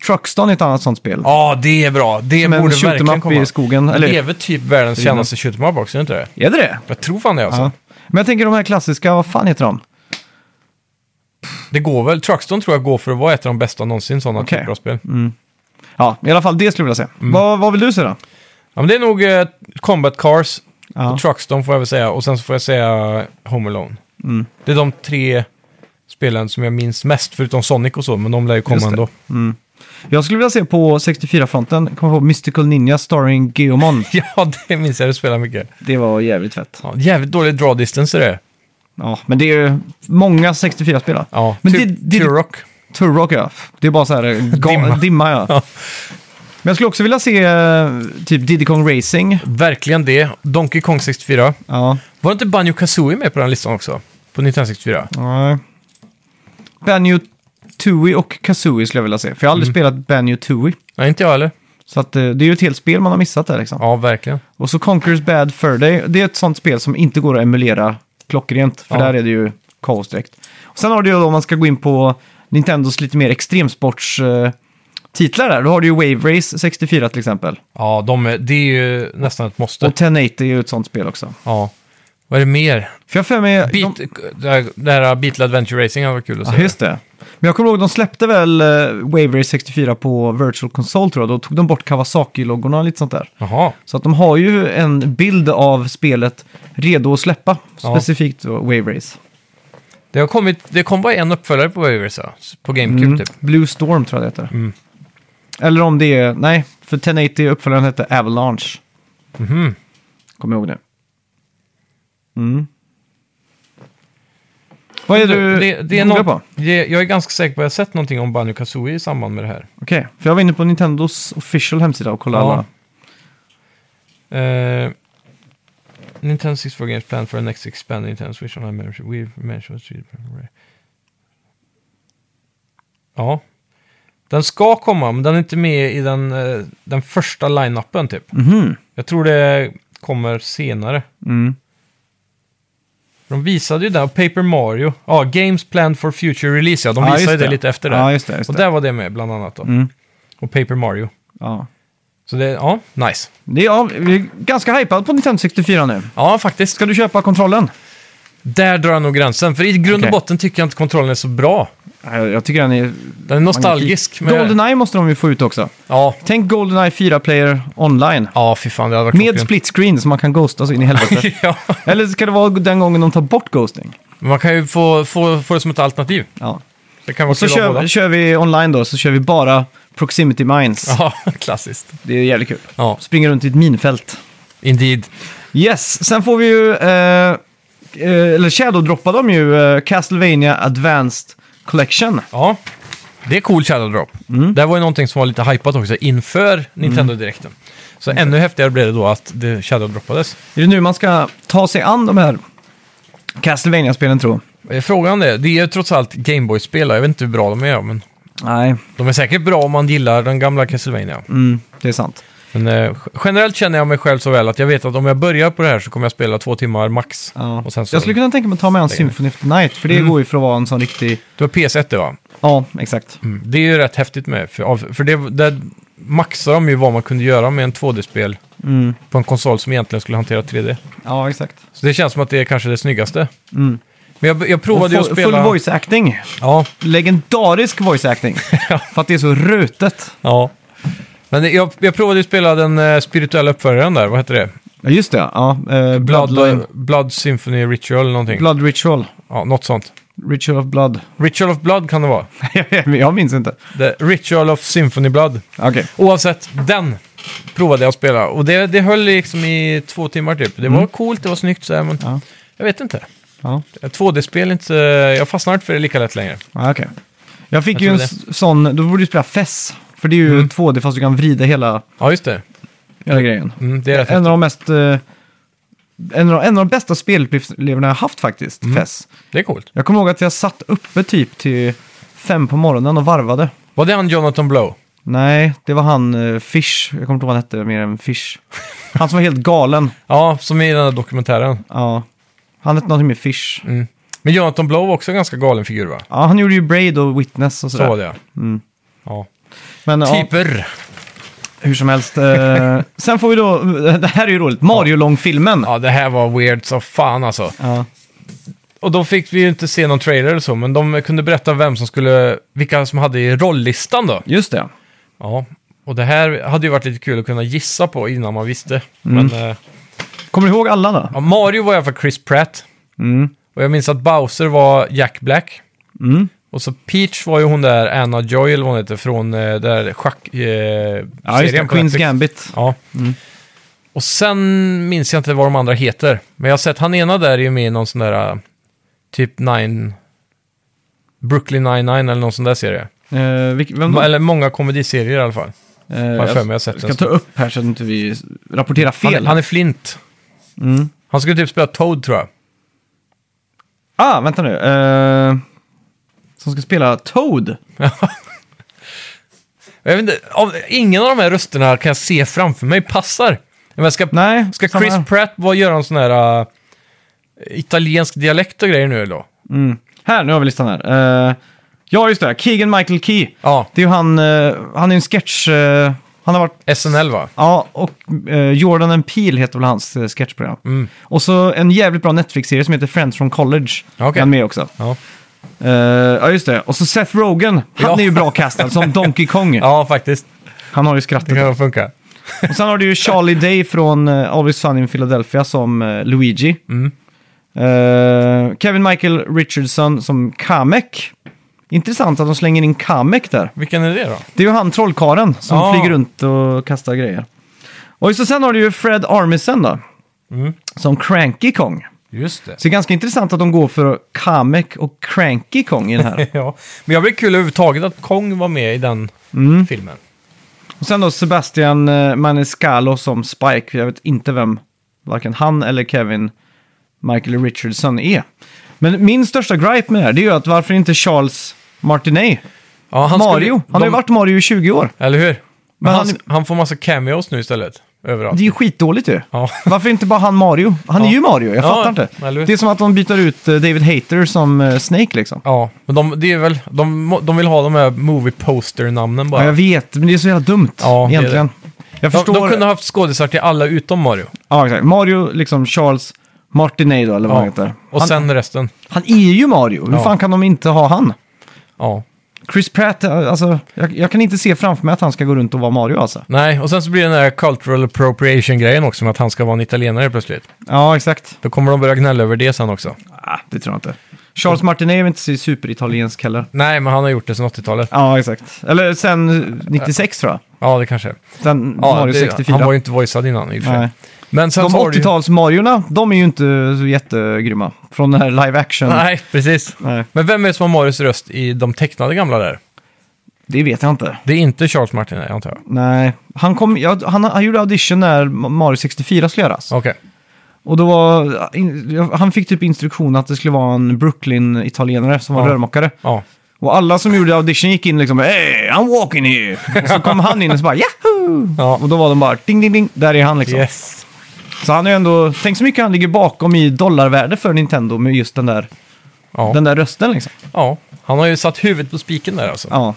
Speaker 1: Truckston är ett annat sånt spel.
Speaker 2: Ja, det är bra. Det
Speaker 1: Som en
Speaker 2: borde
Speaker 1: shoot 'em
Speaker 2: verkligen
Speaker 1: up
Speaker 2: komma.
Speaker 1: i skogen, eller-
Speaker 2: Det är väl typ världens kändaste shoot 'em up också, är det inte det?
Speaker 1: Är det det?
Speaker 2: Jag tror fan det alltså.
Speaker 1: Ja. Men jag tänker de här klassiska, vad fan heter de?
Speaker 2: Det går väl. Truckstone tror jag går för att vara ett av de bästa någonsin sådana
Speaker 1: Okej.
Speaker 2: typer av spel.
Speaker 1: Ja, i alla fall det skulle jag vilja säga. Vad, vad vill du säga då?
Speaker 2: Ja, men det är nog eh, Combat Cars
Speaker 1: Ja.
Speaker 2: och Truckstone får jag väl säga. Och sen så får jag säga Home Alone.
Speaker 1: Mm.
Speaker 2: Det är de tre spelen som jag minns mest, förutom Sonic och så, men de lär ju komma
Speaker 1: Just det.
Speaker 2: ändå.
Speaker 1: Jag skulle vilja se på 64-fronten, kommer på Mystical Ninja starring Geomon.
Speaker 2: Ja, det minns jag. Du spelar mycket.
Speaker 1: Det var jävligt fett.
Speaker 2: Ja, jävligt dålig draw distance är det.
Speaker 1: Ja, men det är ju många 64-spel. då.
Speaker 2: Ja,
Speaker 1: Men
Speaker 2: men
Speaker 1: det- det-
Speaker 2: Turok.
Speaker 1: Turok ja. Det är bara så här eh, ga-
Speaker 2: Dimma.
Speaker 1: dimma. ja.
Speaker 2: Ja.
Speaker 1: Men jag skulle också vilja se eh, typ Diddy Kong Racing.
Speaker 2: Verkligen det. Donkey Kong 64.
Speaker 1: Ja.
Speaker 2: Var inte Banjo Kazooie med på den listan också? På 1964?
Speaker 1: Nej. Banjo Tooie och Kazooie skulle jag vilja se. För jag har aldrig spelat Banjo Tooie.
Speaker 2: Nej, inte jag heller.
Speaker 1: Så att, eh, det är ju ett helt spel man har missat där liksom.
Speaker 2: Ja, verkligen.
Speaker 1: Och så Conquer's Bad Fur Day. Det är ett sånt spel som inte går att emulera klockrent. För
Speaker 2: Ja.
Speaker 1: där är det ju kaos direkt. Och sen har du ju då, om man ska gå in på Nintendos lite mer extremsports... eh, Titlar där, då har du ju Wave Race 64 till exempel.
Speaker 2: Ja, de är, det är ju nästan ett måste.
Speaker 1: Och 1080 är ju ett sånt spel också.
Speaker 2: Ja. Vad är det mer?
Speaker 1: För jag har för mig... de-
Speaker 2: Beat, det, här, det här Beatle Adventure Racing var kul att se.
Speaker 1: Ja, just det. Men jag kommer ihåg, de släppte väl eh, Wave Race 64 på Virtual Console tror jag. Då tog de bort Kawasaki-loggorna och lite sånt där.
Speaker 2: Jaha.
Speaker 1: Så att de har ju en bild av spelet redo att släppa.
Speaker 2: Ja.
Speaker 1: Specifikt då Wave Race.
Speaker 2: Det, har kommit, det kom bara en uppföljare på Waivers, ja. på GameCube
Speaker 1: Mm.
Speaker 2: typ.
Speaker 1: Blue Storm tror jag det heter.
Speaker 2: Mm.
Speaker 1: Eller om det är... Nej, för 1080 uppföljaren hette Avalanche.
Speaker 2: Mhm.
Speaker 1: Kommer jag ihåg nu. Mm. Vad är du
Speaker 2: det, det är
Speaker 1: googlar
Speaker 2: något,
Speaker 1: på?
Speaker 2: det, jag är ganska säker på att jag har sett någonting om Banjo Kazooie i samband med det här.
Speaker 1: Okej, för jag var inne på Nintendos official hemsida och kollade
Speaker 2: Ja.
Speaker 1: alla.
Speaker 2: Eh, Nintendo 64 Games plan for an next expanded Nintendo Switch online membership. We mentioned Ja. Den ska komma, men den är inte med i den, eh, den första line-upen typ.
Speaker 1: Mhm.
Speaker 2: Jag tror det kommer senare.
Speaker 1: Mm.
Speaker 2: De visade ju där, Paper Mario. Ja, Games Planned for Future Release, ja. De
Speaker 1: Ja,
Speaker 2: visade
Speaker 1: just
Speaker 2: ju det lite efter det.
Speaker 1: Ja, just det. Just
Speaker 2: och
Speaker 1: det.
Speaker 2: där var det med, bland annat då.
Speaker 1: Mm.
Speaker 2: Och Paper Mario.
Speaker 1: Ja.
Speaker 2: Så det, ja, nice.
Speaker 1: Det är, ja, vi är ganska hypad på Nintendo 64 nu.
Speaker 2: Ja, faktiskt.
Speaker 1: Ska du köpa kontrollen?
Speaker 2: Där drar jag nog gränsen, för i grund och
Speaker 1: Okej.
Speaker 2: botten tycker jag inte kontrollen är så bra.
Speaker 1: Jag, jag tycker den är...
Speaker 2: Den är nostalgisk.
Speaker 1: magnifik.
Speaker 2: men-
Speaker 1: Goldeneye måste de ju få ut också.
Speaker 2: Ja.
Speaker 1: Tänk Goldeneye 4-player online.
Speaker 2: ja, fy fan, det hade varit
Speaker 1: Med
Speaker 2: klockrent.
Speaker 1: split screen så man kan ghosta så in i helvete.
Speaker 2: ja.
Speaker 1: Eller ska det vara den gången de tar bort ghosting?
Speaker 2: Men Man kan ju få, få, få det som ett alternativ.
Speaker 1: Ja.
Speaker 2: Det kan vara
Speaker 1: Så
Speaker 2: kul att ha
Speaker 1: kör,
Speaker 2: båda.
Speaker 1: kör vi online då, så kör vi bara proximity mines.
Speaker 2: Ja, klassiskt.
Speaker 1: Det är jävligt kul.
Speaker 2: Ja,
Speaker 1: Springer runt i ett minfält.
Speaker 2: indeed.
Speaker 1: Yes, sen får vi ju... Eh, eh, eller shadow-droppar de ju eh, Castlevania Advanced Collection.
Speaker 2: Ja, det är cool Shadow Drop.
Speaker 1: Mm.
Speaker 2: Det var ju någonting som var lite hypat också inför Nintendo-direkten. Så ännu häftigare blev det då att det Shadow droppades.
Speaker 1: Är det nu man ska ta sig an de här Castlevania-spelen tror
Speaker 2: Eh, Frågan är, det är ju trots allt Gameboy-spel, jag vet inte hur bra de är, men
Speaker 1: Nej,
Speaker 2: de är säkert bra om man gillar den gamla Castlevania.
Speaker 1: mm, det är sant.
Speaker 2: Men eh, generellt känner jag mig själv så väl att jag vet att om jag börjar på det här så kommer jag spela två timmar max.
Speaker 1: Ja.
Speaker 2: Och sen så, Mm.
Speaker 1: Jag skulle kunna tänka mig att ta med en Symphony of the Night, för det går ju för att vara en sån riktig...
Speaker 2: Det var PS1 det va?
Speaker 1: Ja, exakt.
Speaker 2: Mm. Det är ju rätt häftigt med, för, av- för det, där maxar de ju vad man kunde göra med en 2D-spel
Speaker 1: Mm.
Speaker 2: på en konsol som egentligen skulle hantera 3D.
Speaker 1: Ja, exakt.
Speaker 2: Så det känns som att det är kanske det snyggaste.
Speaker 1: Mm.
Speaker 2: Men jag, jag
Speaker 1: Och
Speaker 2: provade ju att
Speaker 1: full, full
Speaker 2: spela...
Speaker 1: voice acting.
Speaker 2: Ja,
Speaker 1: Legendarisk voice acting. för att det är så rutet.
Speaker 2: ja. Men det- jag, jag provade ju att spela den eh, spirituella uppföljaren där, vad heter det?
Speaker 1: Ja, just det. Ja, eh, Bloodline.
Speaker 2: Blood, Blood Symphony Ritual eller någonting.
Speaker 1: Blood Ritual.
Speaker 2: Ja, något sånt.
Speaker 1: Ritual of Blood.
Speaker 2: Ritual of Blood kan det vara.
Speaker 1: jag minns inte.
Speaker 2: The Ritual of Symphony Blood.
Speaker 1: Okej.
Speaker 2: Oavsett, den provade jag att spela. Och det, det höll liksom i två timmar typ. Det var coolt, det var snyggt så här, men
Speaker 1: Mm. Ja.
Speaker 2: jag vet inte.
Speaker 1: Ja.
Speaker 2: 2D-spel är inte... Jag fastnar inte för det lika lätt längre.
Speaker 1: Ja, okej. Jag Mm. fick
Speaker 2: Jag
Speaker 1: ju en
Speaker 2: tror
Speaker 1: s- sån, då borde du spela FES. För det är ju 2D fast du kan vrida hela,
Speaker 2: Ja, just det.
Speaker 1: hela grejen.
Speaker 2: Mm, det är rätt
Speaker 1: En av de mest... eh, en, av, en av de bästa spelupplevelserna jag har haft faktiskt, FES.
Speaker 2: häftigt. Det är coolt.
Speaker 1: Jag kommer ihåg att jag satt uppe typ till fem på morgonen och varvade.
Speaker 2: Var det han Jonathan Blow?
Speaker 1: Nej, det var han eh, Fish. Jag kommer inte ihåg vad han hette mer än Fish. Han som var helt galen.
Speaker 2: Ja, som i den här dokumentären.
Speaker 1: Ja. Han hette någonting med Fish.
Speaker 2: Mm. Men Jonathan Blow var också en ganska galen figur va?
Speaker 1: Ja, han gjorde ju Braid och Witness och
Speaker 2: Så Typ.
Speaker 1: sådär.
Speaker 2: var det ja.
Speaker 1: Mm.
Speaker 2: ja.
Speaker 1: Men ja,
Speaker 2: Typer.
Speaker 1: hur som helst. Eh, sen får vi då, eh, det här är ju roligt, Mario-långfilmen.
Speaker 2: Ja, det här var weird så fan alltså.
Speaker 1: Ja.
Speaker 2: Och då fick vi ju inte se någon trailer eller så, men de kunde berätta vem som skulle, vilka som hade i rolllistan då.
Speaker 1: Just det.
Speaker 2: Ja, och det här hade ju varit lite kul att kunna gissa på innan man visste.
Speaker 1: Mm.
Speaker 2: Men eh,
Speaker 1: Kommer du ihåg alla då?
Speaker 2: ja, Mario var i alla fall Chris Pratt.
Speaker 1: Mm.
Speaker 2: Och jag minns att Bowser var Jack Black.
Speaker 1: Mm.
Speaker 2: Och så Peach var ju hon där, Anna Joy eller vad hon heter, från eh, där schack-serien. Eh,
Speaker 1: Ja, just det.
Speaker 2: serien på
Speaker 1: Queens
Speaker 2: Netflix.
Speaker 1: Gambit. Mm.
Speaker 2: Ja. Och sen minns jag inte vad de andra heter. Men jag har sett, han ena där är ju med i någon sån där eh, typ Nine... Brooklyn 99 eller någon sån där serie.
Speaker 1: Eh, vilk, vem då?
Speaker 2: Eller många komediserier i alla fall.
Speaker 1: Eh,
Speaker 2: jag för mig jag sett
Speaker 1: ska
Speaker 2: den.
Speaker 1: ta upp här så att inte vi rapporterar fel.
Speaker 2: Han, han är Flint.
Speaker 1: Mm.
Speaker 2: Han skulle typ spela Toad tror jag.
Speaker 1: Ah, vänta nu. Eh, som ska spela Toad.
Speaker 2: jag vet inte, av, ingen av de här rösterna kan jag se framför mig passar. Men ska,
Speaker 1: Nej,
Speaker 2: ska
Speaker 1: samma
Speaker 2: Chris
Speaker 1: här.
Speaker 2: Pratt vad, göra en sån här eh, italiensk dialekt och grejer nu eller då?
Speaker 1: Mm. Här, nu har vi listan här. Eh, ja, just det. Keegan Michael Key.
Speaker 2: Ja,
Speaker 1: Det är ju han, eh, han är ju en sketch... eh, han har varit...
Speaker 2: SNL va?
Speaker 1: Ja, och eh, Jordan and Peele heter väl hans eh, sketchprogram.
Speaker 2: Mm.
Speaker 1: Och så en jävligt bra Netflix-serie som heter Friends from College.
Speaker 2: Ja, okej.
Speaker 1: Han är med också.
Speaker 2: Ja.
Speaker 1: Eh, ja, just det. Och så Seth Rogen. Han
Speaker 2: Ja.
Speaker 1: är ju bra castad som Donkey Kong.
Speaker 2: ja, faktiskt.
Speaker 1: Han har ju
Speaker 2: Det
Speaker 1: skrattet.
Speaker 2: kan funka.
Speaker 1: Och sen har du ju Charlie Day från eh, Always Sunny in Philadelphia som eh, Luigi.
Speaker 2: Mm.
Speaker 1: Eh, Kevin Michael Richardson som Kamek. Intressant att de slänger in Kamek där.
Speaker 2: Vilken är det då?
Speaker 1: Det är ju han trollkaren som
Speaker 2: Ja.
Speaker 1: flyger runt och kastar grejer. Och så sen har du ju Fred Armisen då.
Speaker 2: Mm.
Speaker 1: Som Cranky Kong.
Speaker 2: Just det.
Speaker 1: Så det är ganska intressant att de går för Kamek och Cranky Kong i den här.
Speaker 2: Ja. Men jag blev kul överhuvudtaget att Kong var med i den
Speaker 1: Mm.
Speaker 2: filmen.
Speaker 1: och sen då Sebastian eh, Maniscalco som Spike. Jag vet inte vem varken han eller Kevin Michael Richardson är. Men min största gripe med det här det är ju att varför inte Charles Martinet?
Speaker 2: Ja, han
Speaker 1: Mario.
Speaker 2: skulle-
Speaker 1: han har ju
Speaker 2: de-
Speaker 1: varit Mario i 20 år.
Speaker 2: Eller hur? Men,
Speaker 1: Men
Speaker 2: han,
Speaker 1: han-
Speaker 2: han får massa cameos nu istället. Överallt.
Speaker 1: Det är ju skitdåligt ju.
Speaker 2: Ja.
Speaker 1: Varför inte bara han Mario? Han är
Speaker 2: Ja.
Speaker 1: ju Mario, jag
Speaker 2: Ja,
Speaker 1: fattar inte.
Speaker 2: eller hur?
Speaker 1: Det är som att de byter ut eh, David Hater som eh, Snake liksom.
Speaker 2: Ja, men de, det är väl, de, må- de vill ha de här movie poster-namnen bara.
Speaker 1: Ja, jag vet, men det är så jävla dumt
Speaker 2: Ja, det är
Speaker 1: egentligen. Jag
Speaker 2: de,
Speaker 1: förstår.
Speaker 2: de kunde ha haft skådisar till alla utom Mario.
Speaker 1: ja, exakt. Mario, liksom Charles Martinet då, eller vad han heter.
Speaker 2: Och
Speaker 1: Han,
Speaker 2: sen resten.
Speaker 1: han är ju Mario, hur
Speaker 2: Ja.
Speaker 1: fan kan de inte ha han?
Speaker 2: Ja.
Speaker 1: Chris Pratt, eh, alltså, jag, jag kan inte se framför mig att han ska gå runt och vara Mario alltså.
Speaker 2: Nej, och sen så blir det den här cultural appropriation-grejen också med att han ska vara en italienare plötsligt.
Speaker 1: Ja, exakt.
Speaker 2: Då kommer de börja gnälla över det sen också.
Speaker 1: Ah, det tror jag inte. Charles Martinet är väl inte så superitaliensk heller.
Speaker 2: Nej, men han har gjort det sedan 80-talet.
Speaker 1: Ja, exakt. Eller sen 96 tror jag.
Speaker 2: Ja, det kanske är.
Speaker 1: Sen
Speaker 2: ja,
Speaker 1: Mario
Speaker 2: det,
Speaker 1: 64.
Speaker 2: Han var ju inte voicead innan i och för sig.
Speaker 1: Nej.
Speaker 2: Men sen
Speaker 1: De
Speaker 2: så har du ju-
Speaker 1: 80-tals-Mariorna, de är ju inte så jättegrymma. Från den här live action.
Speaker 2: Nej, precis.
Speaker 1: Nej.
Speaker 2: Men vem är det som har Marios röst i de tecknade gamla där?
Speaker 1: Det vet jag inte.
Speaker 2: Det är inte Charles Martin, antar jag.
Speaker 1: Nej. Han, kom, ja, han, han gjorde audition när Mario 64 skulle göras.
Speaker 2: Okej.
Speaker 1: Och då var, han fick typ instruktion att det skulle vara en Brooklyn-italienare som var
Speaker 2: Ja.
Speaker 1: rörmokare.
Speaker 2: Ja.
Speaker 1: Och alla som gjorde audition gick in liksom Hey, I'm walking here! Och så kom han in och så bara Yahoo!
Speaker 2: Ja.
Speaker 1: Och då var de bara ding, ding, ding, där är han liksom.
Speaker 2: Yes.
Speaker 1: Så han är ju ändå, tänk så mycket han ligger bakom i dollarvärde för Nintendo med just den där,
Speaker 2: Ja.
Speaker 1: den där rösten liksom.
Speaker 2: ja. Han har ju satt huvudet på spiken där alltså.
Speaker 1: Ja.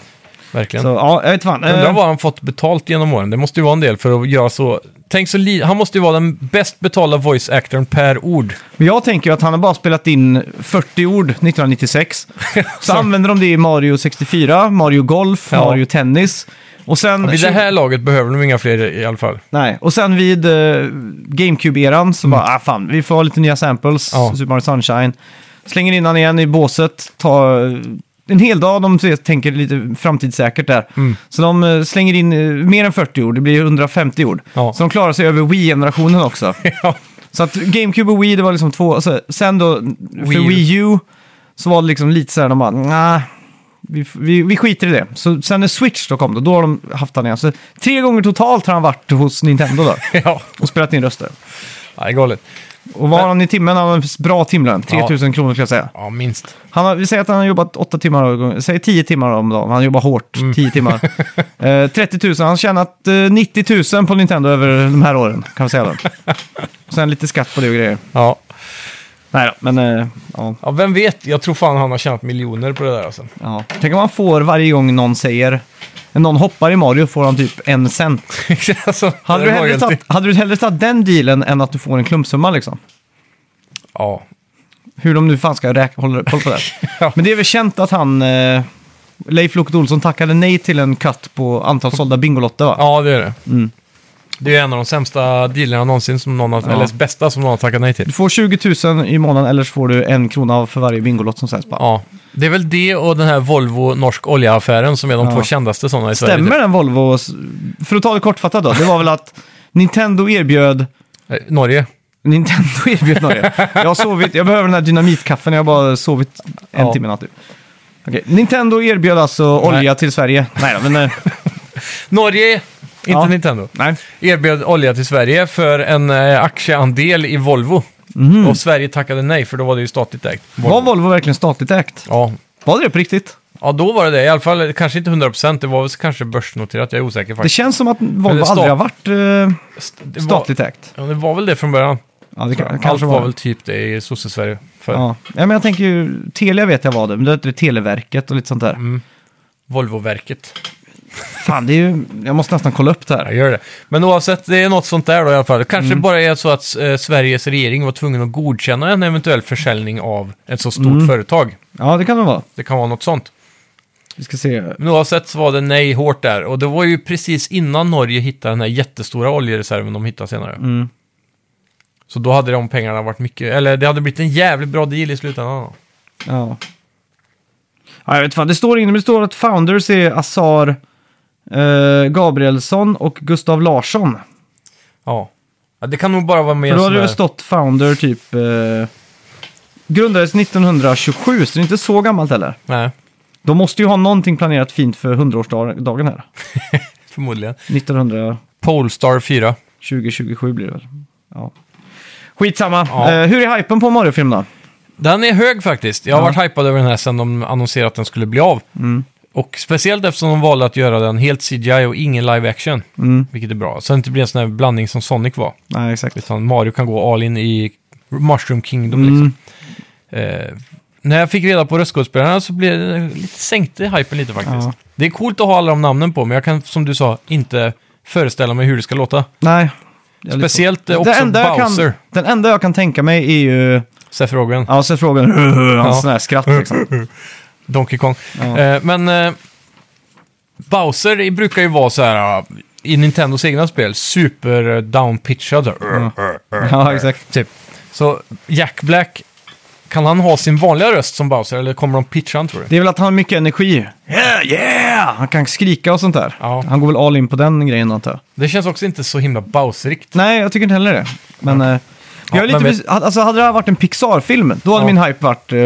Speaker 2: Verkligen.
Speaker 1: Så, ja, jag vet fan.
Speaker 2: Undrar
Speaker 1: Eh,
Speaker 2: vad han fått betalt genom åren. Det måste ju vara en del för att göra så. Tänk så li- han måste ju vara den bäst betalda voice-actorn per ord.
Speaker 1: Men jag tänker ju att han har bara spelat in 40 ord 1996. Så använder de det i Mario 64, Mario Golf,
Speaker 2: Ja.
Speaker 1: Mario Tennis. Och sen,
Speaker 2: Vid det här laget behöver de inga fler i alla fall.
Speaker 1: nej, och sen vid eh, GameCube-eran så bara, ah fan, vi får ha lite nya samples,
Speaker 2: Mm. Ja.
Speaker 1: Super Mario Sunshine. Slänger in han igen i båset, tar eh, en hel dag, de ser- tänker lite framtidssäkert där.
Speaker 2: Mm.
Speaker 1: Så de eh, slänger in eh, mer än 40 ord, det blir 150 ord.
Speaker 2: Ja.
Speaker 1: Så de klarar sig över Wii-generationen också.
Speaker 2: Ja.
Speaker 1: Så att GameCube och Wii, det var liksom två... Alltså, sen då,
Speaker 2: Wii U.
Speaker 1: för Wii U, så var det liksom lite så här, de bara, nah, vi, vi, vi skiter i det. Så sen när Switch då kom, då, då har de haft han igen. Så tre gånger totalt har han varit hos Nintendo då,
Speaker 2: ja.
Speaker 1: och spelat in röster.
Speaker 2: Ja, det är galet.
Speaker 1: Och var han i timmen, han har en bra timlön, 3000 kronor skulle jag säga.
Speaker 2: Ja, minst.
Speaker 1: Han har, vi säger att han har jobbat 8 timmar, om gången- säg 10 timmar om dagen, han jobbar hårt,
Speaker 2: Mm.
Speaker 1: 10 timmar. Eh, 30 000, han har tjänat eh, 90 000 på Nintendo över de här åren, kan vi säga då. Och sen lite skatt på det och grejer.
Speaker 2: Ja.
Speaker 1: Nej då, men eh, ja,
Speaker 2: Ja, vem vet? Jag tror fan han har tjänat miljoner på det där alltså.
Speaker 1: ja. Tänk om man får varje gång någon säger, när någon hoppar i Mario får han typ en cent.
Speaker 2: alltså
Speaker 1: Hade du, hellre tagit, hade du hellre tagit den dealen än att du får en klumpsumma liksom?
Speaker 2: Ja.
Speaker 1: Hur de nu fan ska räkna, hålla koll på det. här.
Speaker 2: Ja.
Speaker 1: Men det är väl känt att han, eh, Leif Loket Olsson tackade nej till en cut på antal sålda Bingolotter va?
Speaker 2: ja, det är det.
Speaker 1: Mm.
Speaker 2: Det är en av de sämsta dealerna någonsin, som någon har,
Speaker 1: Ja.
Speaker 2: eller bästa som någon har tackat nej till.
Speaker 1: Du får 20 000 i månaden eller så får du en krona av för varje Bingolott som säljs. Bara,
Speaker 2: Ja. Det är väl det och den här Volvo norsk olja-affären som är de
Speaker 1: Ja.
Speaker 2: två kändaste sådana i Sverige.
Speaker 1: Stämmer den Volvo? För att ta det kortfattat då, det var väl att Nintendo erbjöd
Speaker 2: Eh, Norge.
Speaker 1: Nintendo erbjöd Norge. Jag, har sovit, jag behöver den här dynamitkaffen, jag har bara sovit en
Speaker 2: Ja.
Speaker 1: timme natt. typ. Okej, Nintendo erbjöd alltså
Speaker 2: Nej.
Speaker 1: olja till Sverige. Nej då, men... eh,
Speaker 2: Norge! Inte
Speaker 1: Ja.
Speaker 2: Nintendo.
Speaker 1: Nej.
Speaker 2: Erbjöd olja till Sverige för en eh, aktieandel i Volvo.
Speaker 1: Mhm.
Speaker 2: Och Sverige tackade nej, för då var det ju statligt ägt.
Speaker 1: Var Volvo verkligen statligt ägt?
Speaker 2: Ja.
Speaker 1: Var det det på riktigt?
Speaker 2: ja, då var det det. I alla fall kanske inte 100%, det var väl kanske börsnoterat, jag är osäker
Speaker 1: Det
Speaker 2: faktiskt.
Speaker 1: känns som att
Speaker 2: Eller
Speaker 1: Volvo
Speaker 2: stat-
Speaker 1: aldrig har varit eh,
Speaker 2: Det var-
Speaker 1: statligt ägt.
Speaker 2: Ja, det var väl det från början.
Speaker 1: Ja, det kan,
Speaker 2: Allt
Speaker 1: kanske
Speaker 2: var
Speaker 1: var.
Speaker 2: väl typ det i sosse-Sverige förr.
Speaker 1: Ja. ja, men jag tänker ju, Telia vet jag var det, men det hette Televerket och lite sånt där.
Speaker 2: Mm. Volvoverket.
Speaker 1: Fan, det är ju, jag måste nästan kolla upp det
Speaker 2: Ja,
Speaker 1: här.
Speaker 2: gör det. Men oavsett, det är något sånt där då i alla fall. Kanske
Speaker 1: Mm.
Speaker 2: bara är så att eh, Sveriges regering var tvungen att godkänna en eventuell försäljning av ett så stort
Speaker 1: Mm.
Speaker 2: företag.
Speaker 1: Ja, det kan det vara.
Speaker 2: Det kan vara något sånt.
Speaker 1: Vi ska se.
Speaker 2: Men oavsett så var det nej hårt där. Och det var ju precis innan Norge hittade den här jättestora oljereserven de hittade senare.
Speaker 1: Mm.
Speaker 2: Så då hade de pengarna varit mycket, eller det hade blivit en jävligt bra deal i slutändan.
Speaker 1: Ja. ja jag vet fan, det står inne, men det står att founders är Azar eh, Gabrielsson och Gustav Larsson.
Speaker 2: Ja. ja. Det kan nog bara vara med
Speaker 1: För
Speaker 2: en sån
Speaker 1: då hade det
Speaker 2: där-
Speaker 1: väl stått founder typ... Eh, grundades 1927, så det är inte så gammalt heller.
Speaker 2: Nej,
Speaker 1: De måste ju ha någonting planerat fint för 100-årsdagen här.
Speaker 2: förmodligen.
Speaker 1: 1900...
Speaker 2: Polestar 4.
Speaker 1: 2027 blir det väl. Ja. Skitsamma.
Speaker 2: Ja.
Speaker 1: Eh, hur är hypen på Mario-filmen då?
Speaker 2: Den är hög faktiskt. Jag har varit hypad över den här sedan de annonserade att den skulle bli av.
Speaker 1: Mm.
Speaker 2: Och speciellt eftersom de valde att göra den helt CGI och ingen live action.
Speaker 1: Mm.
Speaker 2: Vilket är bra. Så det inte blir en sån här blandning som Sonic var.
Speaker 1: Nej, exakt.
Speaker 2: Utan Mario kan gå all in i Mushroom
Speaker 1: Mm.
Speaker 2: Kingdom liksom. Eh, när jag fick reda på röstskådespelarna så blev det lite, sänkte hypen lite faktiskt.
Speaker 1: Ja.
Speaker 2: Det är coolt att ha alla de namnen på, men jag kan som du sa inte föreställa mig hur det ska låta.
Speaker 1: Nej. Jag är lite-
Speaker 2: Speciellt eh, också
Speaker 1: Det enda jag kan-
Speaker 2: Bowser,
Speaker 1: Den enda jag kan tänka mig är ju...
Speaker 2: Seth Rogen.
Speaker 1: Ja, så är frågan...
Speaker 2: Ja.
Speaker 1: Hans sån här skratt liksom.
Speaker 2: Donkey Kong.
Speaker 1: Ja.
Speaker 2: Eh, men eh, Bowser i- brukar ju vara så här ah, i Nintendos egna spel, super eh, downpitchad. så här,
Speaker 1: Ja. Ja, exakt.
Speaker 2: Typ. Så Jack Black, kan han ha sin vanliga röst som Bowser eller kommer de pitcha han tror du?
Speaker 1: Det är väl att han har mycket energi. Yeah, yeah! Han kan skrika och sånt där.
Speaker 2: Ja.
Speaker 1: Han går väl all in på den grejen antar jag.
Speaker 2: Det känns också inte så himla Bowserigt.
Speaker 1: Nej, jag tycker inte heller det. Men... eh, Jag är
Speaker 2: Ja,
Speaker 1: lite
Speaker 2: men
Speaker 1: vis- alltså, hade det här varit en Pixar-film, då hade
Speaker 2: Ja. Mm.
Speaker 1: min hype varit eh,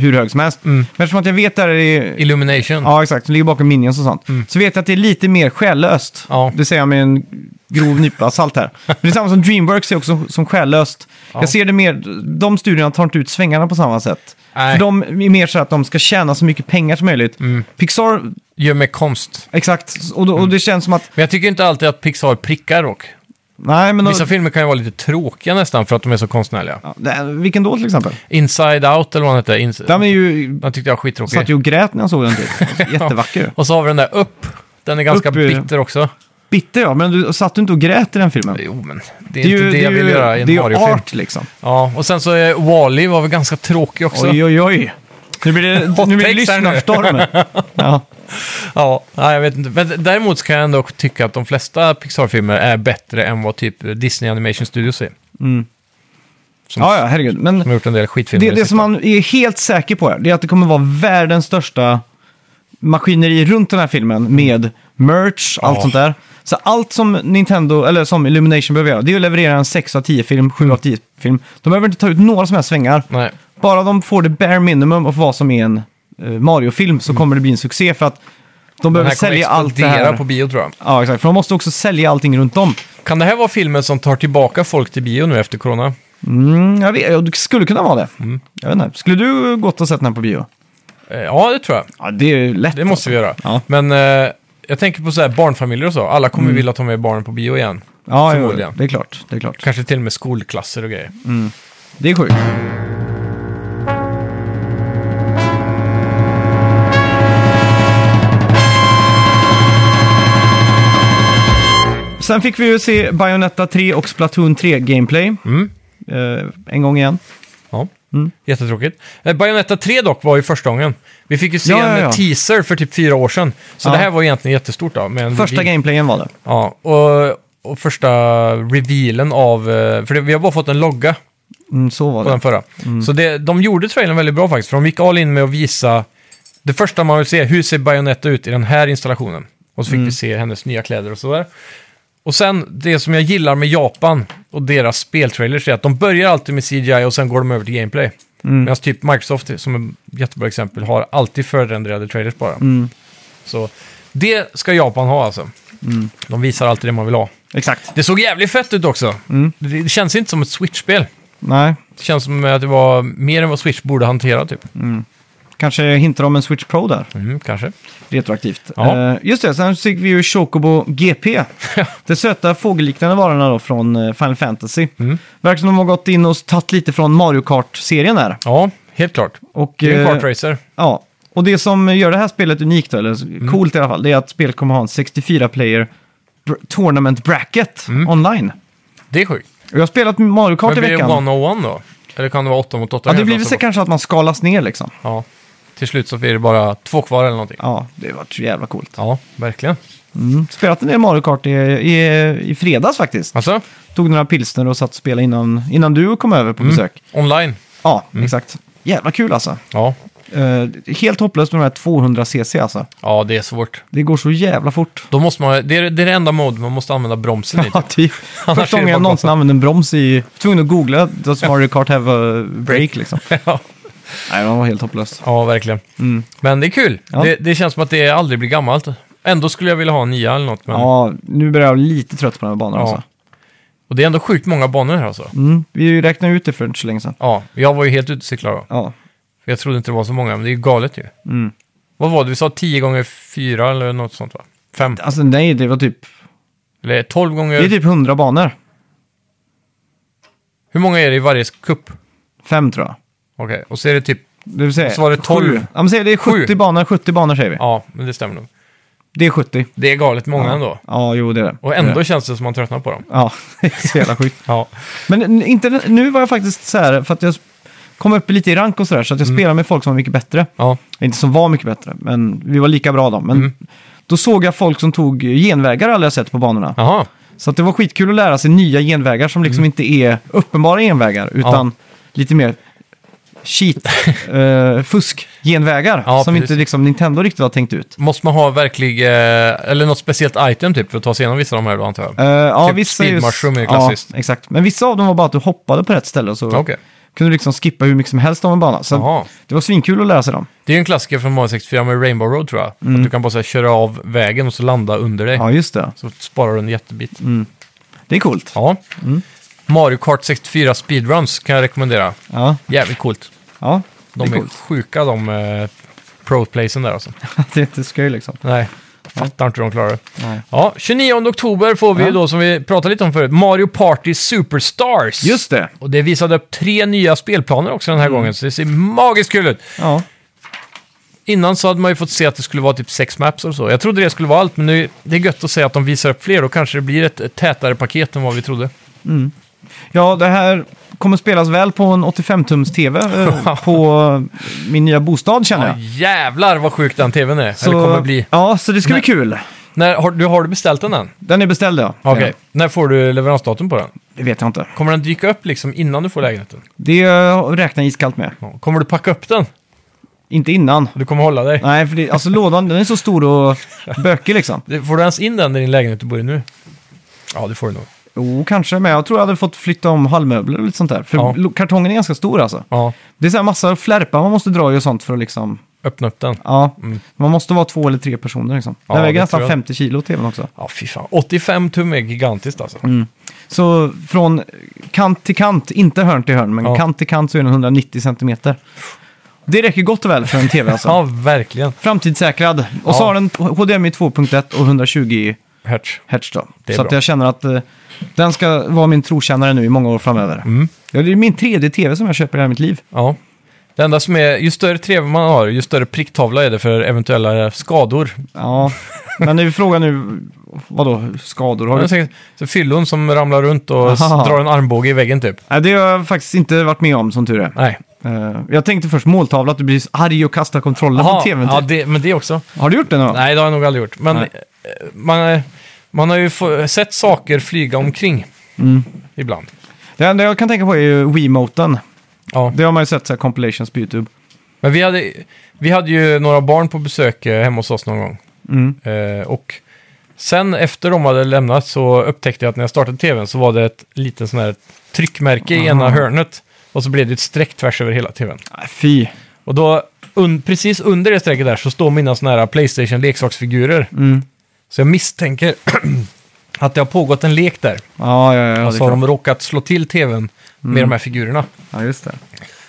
Speaker 1: hur hög som helst. Men eftersom att jag vet att det här är
Speaker 2: Illumination.
Speaker 1: Ja, exakt. Det ligger bakom Minions och sånt. Så vet jag att det är lite mer själlöst.
Speaker 2: Mm. Ja.
Speaker 1: Det säger jag med en grov nypa salt här. Men det är samma som Dreamworks är också som själlöst.
Speaker 2: Ja.
Speaker 1: Jag ser det mer, de studierna tar inte ut svängarna på samma sätt.
Speaker 2: Nej. Mm.
Speaker 1: För de är mer så att de ska tjäna så mycket pengar som möjligt. Pixar,
Speaker 2: Gör med konst.
Speaker 1: exakt. Och, då, och
Speaker 2: Mm.
Speaker 1: det känns som att,
Speaker 2: Men jag tycker inte alltid att Pixar prickar dock.
Speaker 1: nej men... då-
Speaker 2: Vissa filmer kan ju vara lite tråkiga nästan för att de är så konstnärliga.
Speaker 1: Ja, det- vilken då till exempel?
Speaker 2: Inside Out eller vad den hette. Ins-
Speaker 1: Den är ju,
Speaker 2: Den tyckte jag var skittråkig.
Speaker 1: satt ju och grät när jag såg den typ. Jättevacker.
Speaker 2: Och så har vi den där upp. Den är ganska
Speaker 1: Upp är det.
Speaker 2: bitter också.
Speaker 1: Bitter ja, men du, satt du inte och grät i den filmen?
Speaker 2: Jo, men det är, inte det, jag vill
Speaker 1: ju-
Speaker 2: göra i
Speaker 1: det är
Speaker 2: en
Speaker 1: ju
Speaker 2: Mario-film.
Speaker 1: art liksom.
Speaker 2: Ja, och sen så är Wall-E var väl ganska tråkig också.
Speaker 1: Oj, oj, oj. Nu blir det,
Speaker 2: Hot
Speaker 1: nu blir det
Speaker 2: takes här nu.
Speaker 1: lyssnarstorm. ja.
Speaker 2: Ja, nej, jag vet inte. Men d- däremot kan jag ändå tycka att de flesta Pixar-filmer är bättre än vad typ Disney Animation Studios är. Som,
Speaker 1: ja, ja, herregud. Men
Speaker 2: som har gjort en del skitfilmer.
Speaker 1: det, det som man är helt säker på här, det är att det kommer vara världens största maskineri runt den här filmen med merch, allt
Speaker 2: Ja.
Speaker 1: sånt där. Så allt som Nintendo, eller som Illumination behöver göra, det är att leverera en 6 av 10-film, 7 av 10-film. De behöver inte ta ut några som helst svängar.
Speaker 2: Nej,
Speaker 1: Bara de får det bare minimum av vad som är en eh, Mario-film så kommer det bli en succé för att de
Speaker 2: Mm. den
Speaker 1: behöver
Speaker 2: här kommer
Speaker 1: sälja allt det
Speaker 2: explodera
Speaker 1: här.
Speaker 2: på bio tror jag.
Speaker 1: Ja, exakt. För de måste också sälja allting runt om.
Speaker 2: Kan det här vara filmen som tar tillbaka folk till bio nu efter corona?
Speaker 1: Mm, jag vet, det skulle kunna vara det.
Speaker 2: Mm.
Speaker 1: Jag vet inte. Skulle du gått och sett den här på bio?
Speaker 2: Eh, Ja, det tror jag.
Speaker 1: Ja, det är ju lätt.
Speaker 2: Det måste vi göra.
Speaker 1: Ja. Mm.
Speaker 2: Men eh, jag tänker på så här barnfamiljer och så. Alla kommer vilja ta med barnen på bio igen.
Speaker 1: ja, jo,
Speaker 2: förmodligen.
Speaker 1: det är klart. Det är klart.
Speaker 2: Kanske till och med skolklasser och grejer.
Speaker 1: Det är sjukt. Sen fick vi ju se Bayonetta 3 och Splatoon 3-gameplay.
Speaker 2: Mm.
Speaker 1: Eh, en gång igen.
Speaker 2: Ja.
Speaker 1: Mm.
Speaker 2: Jättetråkigt. Eh, Bayonetta 3 dock var ju första gången. Vi fick ju se
Speaker 1: Ja, ja, ja.
Speaker 2: en teaser för typ fyra år sedan. Så
Speaker 1: Ja.
Speaker 2: det här var egentligen jättestort då. Med en
Speaker 1: Första
Speaker 2: reveal.
Speaker 1: gameplayen var det.
Speaker 2: Ja, och, och första revealen av... eh, För det, vi har bara fått en logga
Speaker 1: Mm, så var
Speaker 2: på den
Speaker 1: det.
Speaker 2: förra. Så det, de gjorde trailern väldigt bra faktiskt, för de gick all in med att visa det första man vill se, hur ser Bayonetta ut i den här installationen? Och så fick vi se hennes nya kläder och sådär. Och sen, det som jag gillar med Japan och deras speltrailers är att de börjar alltid med CGI och sen går de över till gameplay. Medan typ Microsoft, som ett jättebra exempel, har alltid förrenderade trailers bara. Så det ska Japan ha alltså. De visar alltid det man vill ha.
Speaker 1: Exakt.
Speaker 2: Det såg jävligt fett ut också. Det det känns inte som ett Switch-spel.
Speaker 1: Nej,
Speaker 2: Det känns som att det var mer än vad Switch borde hantera, typ.
Speaker 1: Mm. kanske hintar om en Switch Pro där.
Speaker 2: Mm, kanske.
Speaker 1: Retroaktivt.
Speaker 2: Ja.
Speaker 1: Eh, just det, sen fick vi ju Chocobo GP. det söta fågelliknande varorna då från eh, Final Fantasy.
Speaker 2: Mm.
Speaker 1: Verkar som de har gått in och tagit lite från Mario Kart-serien där.
Speaker 2: Ja, helt klart.
Speaker 1: Och,
Speaker 2: Det är en
Speaker 1: eh,
Speaker 2: kartracer.
Speaker 1: Ja, och det som gör det här spelet unikt, eller
Speaker 2: Mm.
Speaker 1: coolt i alla fall, det är att spelet kommer ha en 64-player br- tournament bracket online.
Speaker 2: Det är sjukt.
Speaker 1: Och jag har spelat Mario Kart
Speaker 2: Men
Speaker 1: i
Speaker 2: blir Mm. det
Speaker 1: veckan.
Speaker 2: 101 då? Eller kan det vara 8 mot 8?
Speaker 1: ja, det blir väl så kanske att man skalas ner liksom.
Speaker 2: Ja. Till slut så blir det bara två kvar eller någonting.
Speaker 1: Ja, det var så jävla coolt.
Speaker 2: Ja, verkligen.
Speaker 1: Mm. Spelat en del Mario Kart i, i, i fredags faktiskt.
Speaker 2: Alltså,
Speaker 1: Tog några pilsner och satt och spelade innan, innan du kom över
Speaker 2: Mm.
Speaker 1: på besök.
Speaker 2: online.
Speaker 1: Ja,
Speaker 2: Mm.
Speaker 1: exakt. Jävla kul alltså.
Speaker 2: Ja.
Speaker 1: Eh, helt hopplöst med de här 200cc alltså.
Speaker 2: ja, det är svårt.
Speaker 1: Det går så jävla fort.
Speaker 2: Då måste man, det, är, det är det enda mod man måste använda bromsen i.
Speaker 1: Ja,
Speaker 2: Typ.
Speaker 1: typ.
Speaker 2: Annars
Speaker 1: Första
Speaker 2: är det
Speaker 1: gången jag
Speaker 2: bara
Speaker 1: någonsin använde en broms i... Tvungen att googla Does Mario Kart have a break liksom.
Speaker 2: ja.
Speaker 1: Nej, den var helt hopplös.
Speaker 2: ja, verkligen. Men det är kul.
Speaker 1: Mm. Ja.
Speaker 2: Det, det känns som att det aldrig blir gammalt. Ändå skulle jag vilja ha en nia eller något. Men,
Speaker 1: Ja, nu börjar jag bli lite trött på den här banan
Speaker 2: Mm. Ja.
Speaker 1: alltså.
Speaker 2: Och det är ändå sjukt många banor här alltså.
Speaker 1: Mm, vi räknade ut det för inte så länge sedan.
Speaker 2: Ja, jag var ju helt ute och cyklade då.
Speaker 1: Ja,
Speaker 2: För jag trodde inte det var så många, men det är ju galet ju.
Speaker 1: Mm.
Speaker 2: Vad var det? Vi sa 10 gånger 4 eller något sånt va? 5?
Speaker 1: alltså nej, det var typ...
Speaker 2: Eller 12 gånger...
Speaker 1: Det är typ 100 banor.
Speaker 2: Hur många är det i varje kupp?
Speaker 1: Fem tror jag.
Speaker 2: Okej, och så är det typ...
Speaker 1: Det vill säga...
Speaker 2: Så var det 12.
Speaker 1: Sju. Ja, men säg det är 70
Speaker 2: Sju.
Speaker 1: banor, 70 banor säger vi.
Speaker 2: Ja, men det stämmer nog.
Speaker 1: Det är 70.
Speaker 2: Det är galet många ändå.
Speaker 1: Ja, jo det är det.
Speaker 2: Och
Speaker 1: Det är
Speaker 2: ändå
Speaker 1: det.
Speaker 2: känns det som man tröttnar på dem.
Speaker 1: Ja, det är så jävla sjukt.
Speaker 2: Ja.
Speaker 1: Men n- inte, nu var jag faktiskt så här, för att jag kom upp lite i rank och sådär, så att jag
Speaker 2: Mm.
Speaker 1: spelade med folk som var mycket bättre.
Speaker 2: Ja.
Speaker 1: Inte som var mycket bättre, men vi var lika bra då. Men
Speaker 2: Mm.
Speaker 1: då såg jag folk som tog genvägar aldrig jag sett på banorna.
Speaker 2: Jaha.
Speaker 1: Så att det var skitkul att lära sig nya genvägar som
Speaker 2: Mm.
Speaker 1: liksom inte är uppenbara genvägar, utan lite mer cheat, eh, fusk, genvägar.
Speaker 2: Ja,
Speaker 1: som
Speaker 2: precis.
Speaker 1: inte liksom Nintendo riktigt har tänkt ut.
Speaker 2: Måste man ha verklig... Eh, eller något speciellt item typ för att ta sig igenom vissa av de här då antar jag?
Speaker 1: Eh, ja,
Speaker 2: Typ
Speaker 1: vissa är ju-
Speaker 2: speed mushroom är ju klassiskt.
Speaker 1: Ja, exakt. Men vissa av dem var bara att du hoppade på rätt ställe och så
Speaker 2: Okej.
Speaker 1: kunde du liksom skippa hur mycket som helst av en bana. Så
Speaker 2: Jaha.
Speaker 1: det var svinkul att lära sig dem.
Speaker 2: Det är ju en klassiker från Mario 64 med Rainbow Road tror jag. Att du kan bara så här, köra av vägen och så landa under dig.
Speaker 1: Mm. Ja, just det.
Speaker 2: Så sparar du en jättebit.
Speaker 1: Det är coolt.
Speaker 2: Ja.
Speaker 1: Mm.
Speaker 2: Mario Kart 64 speedruns kan jag rekommendera.
Speaker 1: Ja,
Speaker 2: Jävligt coolt.
Speaker 1: ja det
Speaker 2: De
Speaker 1: är
Speaker 2: är,
Speaker 1: coolt.
Speaker 2: sjuka de eh, pro-placen där alltså.
Speaker 1: det är inte skoj liksom.
Speaker 2: Nej, fattar inte hur de klarar det.
Speaker 1: Nej.
Speaker 2: Ja, 29 oktober får vi
Speaker 1: Ja.
Speaker 2: då, som vi pratade lite om förut, Mario Party Superstars.
Speaker 1: Just Mm. det.
Speaker 2: Och det visade upp tre nya spelplaner också den här gången, så det ser magiskt kul ut.
Speaker 1: Ja,
Speaker 2: Innan så hade man ju fått se att det skulle vara typ sex maps och så. Jag trodde det skulle vara allt, men nu, det är gött att se att de visar upp fler. Då kanske det blir ett ett tätare paket än vad vi trodde.
Speaker 1: ja det här kommer spelas väl på en 85-tums-tv eh, på eh, min nya bostad känner jag.
Speaker 2: Jävlar vad sjuk den tvn är, eller kommer bli.
Speaker 1: Ja, så det ska
Speaker 2: Nej.
Speaker 1: bli kul.
Speaker 2: När, har, du, har du beställt den än?
Speaker 1: Den är beställd ja.
Speaker 2: Okej. När får du leveransdatum på den?
Speaker 1: Det vet jag inte.
Speaker 2: Kommer den dyka upp liksom innan du får lägenheten?
Speaker 1: Det eh, räknar jag iskallt med.
Speaker 2: Ja. Kommer du packa upp den?
Speaker 1: Inte innan.
Speaker 2: Du kommer hålla dig?
Speaker 1: Nej, för det, alltså lådan den är så stor och bökig liksom.
Speaker 2: Det- Får du ens in den i din lägenhet du bor i nu? Ja, det får du nog.
Speaker 1: Jo, kanske, men jag tror jag hade fått flytta om hallmöbler och lite sånt där. För
Speaker 2: Ja.
Speaker 1: lo- kartongen är ganska stor alltså.
Speaker 2: Ja,
Speaker 1: Det är så här massa flärpar man måste dra i och sånt för att liksom...
Speaker 2: öppna upp den.
Speaker 1: Ja, man måste vara två eller tre personer liksom.
Speaker 2: Mm. Ja,
Speaker 1: den väger
Speaker 2: det tror
Speaker 1: nästan
Speaker 2: jag.
Speaker 1: 50 kilo tvn också.
Speaker 2: Ja, fy fan. 85 tum är gigantiskt alltså.
Speaker 1: Mm, Så från kant till kant, inte hörn till hörn, men
Speaker 2: Ja.
Speaker 1: kant till kant så är den 190 centimeter. Det räcker gott och väl för en tv alltså.
Speaker 2: Ja, verkligen.
Speaker 1: Framtidssäkrad. Och så
Speaker 2: Ja.
Speaker 1: har den HDMI 2.1 och 120
Speaker 2: Hertz.
Speaker 1: hertz då.
Speaker 2: Det är
Speaker 1: Så att
Speaker 2: bra.
Speaker 1: jag känner att eh, den ska
Speaker 2: Mm.
Speaker 1: vara min trotjänare nu i många år framöver. Ja, det är min tredje tv som jag köper i hela mitt liv.
Speaker 2: Ja. Det enda som är, ju större TV man har, ju större pricktavla är det för eventuella skador.
Speaker 1: Ja, men det är ju frågan nu, vadå, skador? Har
Speaker 2: Jag
Speaker 1: du...
Speaker 2: tänker, Så fyllon som ramlar runt och s-
Speaker 1: Aha.
Speaker 2: drar en armbåge i väggen typ.
Speaker 1: Nej, det har jag faktiskt inte varit med om, som tur är.
Speaker 2: Nej.
Speaker 1: Eh, jag tänkte först måltavla, att du blir arg och kastar kontrollen
Speaker 2: Aha,
Speaker 1: på tvn.
Speaker 2: ja,
Speaker 1: typ.
Speaker 2: det, men det också.
Speaker 1: Har du gjort det någon gång?
Speaker 2: Nej, det har jag nog aldrig gjort. Men
Speaker 1: Nej.
Speaker 2: eh, man, man har ju få, sett saker flyga omkring
Speaker 1: Mm.
Speaker 2: ibland.
Speaker 1: Det enda jag kan tänka på är ju Wiimoten.
Speaker 2: Ja.
Speaker 1: Det har man ju sett så här compilations på YouTube.
Speaker 2: Men vi hade, vi hade ju några barn på besök eh, hemma hos oss någon gång.
Speaker 1: Mm.
Speaker 2: Eh, och sen efter de hade lämnat så upptäckte jag att när jag startade tvn så var det ett litet sån här tryckmärke i ena hörnet. Och så blev det ett streck tvärs över hela tvn.
Speaker 1: Nej, fy.
Speaker 2: Och då, un, precis under det strecket där så står mina såna här Playstation-leksaksfigurer.
Speaker 1: Mm.
Speaker 2: Så jag misstänker att det har pågått en lek där.
Speaker 1: Ja, ja, ja.
Speaker 2: och så har
Speaker 1: det är klart. Mm.
Speaker 2: de råkat slå till tvn med de här figurerna.
Speaker 1: ja just det.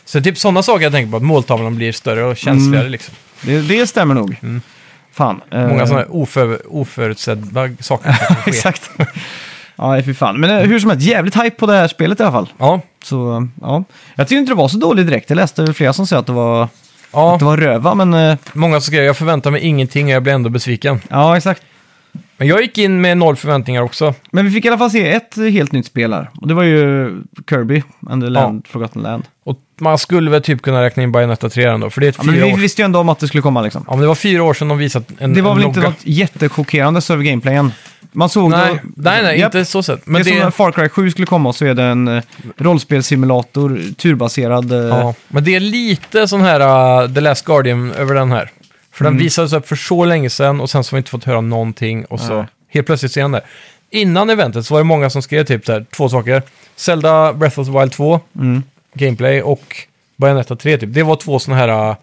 Speaker 2: Så typ sådana saker jag tänker på, att måltavlan blir större och känsligare liksom.
Speaker 1: det. Det stämmer nog. Fan. Mm. eh,
Speaker 2: Mm. Många sådana här oför, oförutsedda saker som kan ske.
Speaker 1: Exakt. ja, fy fan. Men eh, hur som helst, jävligt hype på det här spelet i alla fall.
Speaker 2: Ja,
Speaker 1: Så, eh, ja. Jag tyckte inte det var så dåligt direkt. Jag läste flera som sa att det var,
Speaker 2: ja.
Speaker 1: att det var röva, men... eh,
Speaker 2: många som skrev jag förväntar mig ingenting och jag blir ändå besviken.
Speaker 1: Ja, exakt.
Speaker 2: Men jag gick in med noll förväntningar också.
Speaker 1: Men vi fick i alla fall se ett eh, helt nytt spel här. Och det var ju Kirby and the
Speaker 2: Ja.
Speaker 1: Land, Forgotten Land.
Speaker 2: Och man skulle väl typ kunna räkna in Bayonetta 3 ändå, för det är ett
Speaker 1: Ja, men
Speaker 2: fyra
Speaker 1: vi
Speaker 2: år...
Speaker 1: visste ju ändå om att det skulle komma liksom.
Speaker 2: Ja, men det var fyra år sedan de visat en
Speaker 1: Det var
Speaker 2: en
Speaker 1: väl inte
Speaker 2: Mm, logga.
Speaker 1: något jättechockerande så över gameplayen. Man såg
Speaker 2: Nej,
Speaker 1: det...
Speaker 2: nej, nej
Speaker 1: Japp.
Speaker 2: inte så sett.
Speaker 1: Men
Speaker 2: Men
Speaker 1: det är som när Far Cry 7 skulle komma så är det en eh, rollspelssimulator, turbaserad. eh,
Speaker 2: Ja, men det är lite sån här uh, The Last Guardian över den här. För
Speaker 1: Mm.
Speaker 2: den visades upp för så länge sedan och sen så har vi inte fått höra någonting och så
Speaker 1: Nej.
Speaker 2: helt plötsligt ser den där. Innan eventet så var det många som skrev typ så här, två saker. Zelda Breath of the Wild 2,
Speaker 1: Mm.
Speaker 2: gameplay och Bayonetta 3 typ. Det var två såna här uh,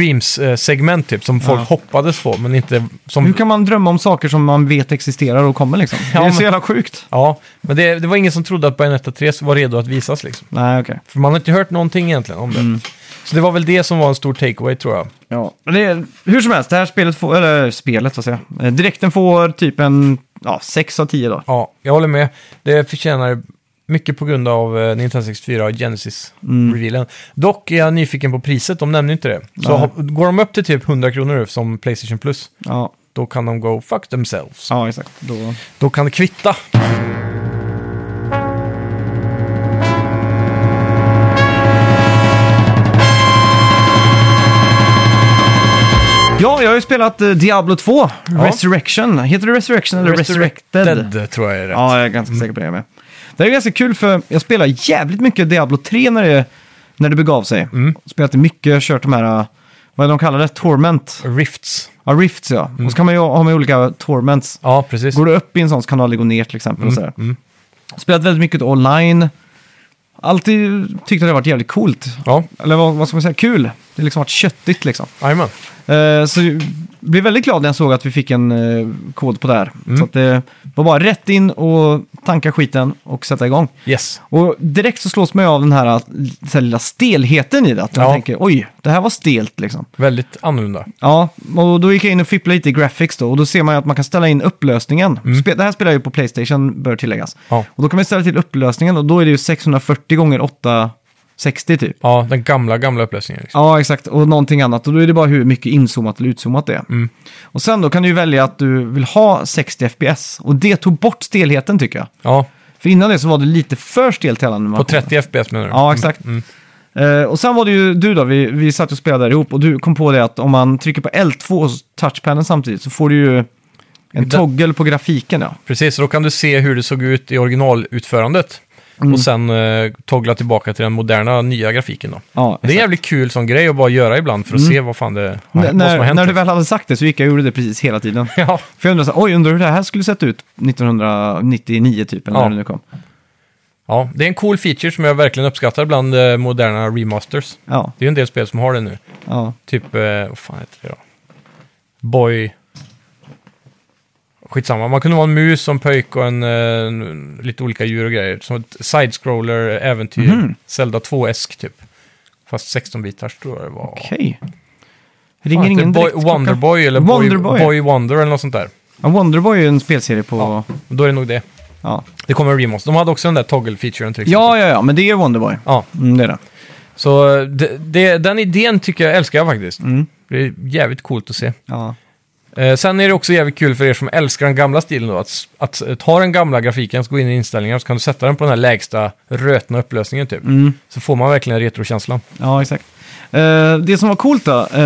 Speaker 2: Dreams-segment typ som folk
Speaker 1: Ja.
Speaker 2: hoppades på men inte som...
Speaker 1: Hur kan man drömma om saker som man vet existerar och kommer liksom?
Speaker 2: Ja,
Speaker 1: det är
Speaker 2: men-
Speaker 1: så jävla sjukt.
Speaker 2: Ja, men det, det var ingen som trodde att Bayonetta 3 var redo att visas liksom.
Speaker 1: Nej, okej.
Speaker 2: För man har inte hört någonting egentligen om det.
Speaker 1: Mm.
Speaker 2: Så det var väl det som var en stor takeaway tror jag.
Speaker 1: Ja. Men det är, hur som helst, det här spelet får, eller spelet vad säger jag, Eh, direkten får typ en ja, 6 av 10 då.
Speaker 2: Ja, jag håller med. Det förtjänar mycket på grund av eh, Nintendo 64 och
Speaker 1: Mm.
Speaker 2: Genesis-revealen. Dock är jag nyfiken på priset, de nämner inte det. Så
Speaker 1: Nej.
Speaker 2: ha- går de upp till typ 100 kronor nu som Playstation Plus,
Speaker 1: Ja,
Speaker 2: då kan de go fuck themselves.
Speaker 1: ja exakt. Då...
Speaker 2: Då kan det kvitta.
Speaker 1: Ja, jag har ju spelat eh, Diablo 2,
Speaker 2: Ja.
Speaker 1: Resurrection. Heter det Resurrection eller Resurrected?
Speaker 2: Resurrected, tror jag är rätt.
Speaker 1: Ja, jag är ganska säker på det jag med. Det här är ganska kul för jag spelar jävligt mycket Diablo 3 när det, när det begav sig.
Speaker 2: Mm.
Speaker 1: Spelat det mycket, kört de här, eh, vad är de kallar det? Torment?
Speaker 2: Rifts.
Speaker 1: Ja, rifts ja. Och så kan man ju ha med olika torments.
Speaker 2: Ja, precis.
Speaker 1: Går du upp i en sån så kan du aldrig gå ner till exempel. Och sådär. Spelat väldigt mycket online. Alltid tyckte det har varit jävligt coolt.
Speaker 2: Ja,
Speaker 1: Eller vad, vad ska man säga? Kul. Det har liksom varit köttigt liksom.
Speaker 2: jajamän.
Speaker 1: Eh, så jag blev väldigt glad när jag såg att vi fick en eh, kod på det här. Så att det var bara rätt in och tanka skiten och sätta igång.
Speaker 2: Yes.
Speaker 1: Och direkt så slås man ju av den här, eh, så här lilla stelheten i det. Att man
Speaker 2: Ja.
Speaker 1: tänker oj, det här var stelt liksom.
Speaker 2: Väldigt annorlunda.
Speaker 1: Ja, och då gick jag in och fipplade lite i graphics då. Och då ser man ju att man kan ställa in upplösningen. Spe- det här spelar jag ju på Playstation, bör tilläggas.
Speaker 2: Mm. Ja.
Speaker 1: Och då kan man ställa till upplösningen och då är det ju 640 gånger 860 typ.
Speaker 2: Ja, den gamla, gamla upplösningen. Liksom.
Speaker 1: Ja, exakt. Och någonting annat. Och då är det bara hur mycket inzoomat eller utzoomat det är.
Speaker 2: Mm.
Speaker 1: Och sen då kan du ju välja att du vill ha 60 FPS. Och det tog bort stelheten tycker jag.
Speaker 2: Ja,
Speaker 1: För innan det så var det lite för stelt hela tiden.
Speaker 2: på 30 FPS menar du?
Speaker 1: Ja, exakt.
Speaker 2: Mm.
Speaker 1: Eh, och sen var det ju du då, vi, vi satt och spelade där ihop och du kom på det att om man trycker på L2 och touchpaden samtidigt så får du ju en
Speaker 2: Det-
Speaker 1: toggle på grafiken. Ja.
Speaker 2: Precis, och då kan du se hur det såg ut i originalutförandet.
Speaker 1: Mm.
Speaker 2: Och sen eh, toggla tillbaka till den moderna, nya grafiken då.
Speaker 1: Ja,
Speaker 2: Det är en jävligt kul sån grej att bara göra ibland för att se vad fan det vad
Speaker 1: Mm. N-
Speaker 2: som har
Speaker 1: när,
Speaker 2: hänt.
Speaker 1: när du väl hade sagt det så gick jag och gjorde det precis hela tiden.
Speaker 2: Ja,
Speaker 1: För jag undrade, så här, oj, undrar hur det här skulle sett ut 1999 typ, eller
Speaker 2: Ja.
Speaker 1: när det nu kom.
Speaker 2: ja, det är en cool feature som jag verkligen uppskattar bland eh, moderna remasters.
Speaker 1: Ja,
Speaker 2: Det är ju en del spel som har det nu.
Speaker 1: ja.
Speaker 2: Typ, eh, vad fan heter det då? Boy... Skitsamma, man kunde vara en mus som pöjk och en, eh, en, lite olika djur och grejer. Som ett side-scroller, äventyr,
Speaker 1: Mhm.
Speaker 2: Zelda 2-esk typ. Fast 16-bitars tror jag det var.
Speaker 1: okej.
Speaker 2: Fan,
Speaker 1: Ringer
Speaker 2: heter
Speaker 1: ingen
Speaker 2: det Boy,
Speaker 1: direkt klocka?
Speaker 2: Wonderboy eller
Speaker 1: Wonderboy.
Speaker 2: Boy, Boy Wonder eller något sånt där.
Speaker 1: Ja, Wonderboy är ju en spelserie på... Ja,
Speaker 2: Då är det nog det.
Speaker 1: ja,
Speaker 2: Det kommer en remaster. De hade också den där toggle-featuren till exempel.
Speaker 1: ja, ja, men det är Wonderboy.
Speaker 2: Ja,
Speaker 1: Mm, det är det.
Speaker 2: Så eh, det, det, den idén tycker jag, älskar jag faktiskt.
Speaker 1: Mm.
Speaker 2: Det är jävligt coolt att se.
Speaker 1: Ja.
Speaker 2: Eh, sen är det också jävligt kul för er som älskar den gamla stilen då, att, s- att eh, ta den gamla grafiken, så gå in i inställningar, så kan du sätta den på den här lägsta rötna upplösningen typ.
Speaker 1: Mm.
Speaker 2: Så får man verkligen retrokänslan.
Speaker 1: Ja, exakt. Eh, det som var coolt då, eh,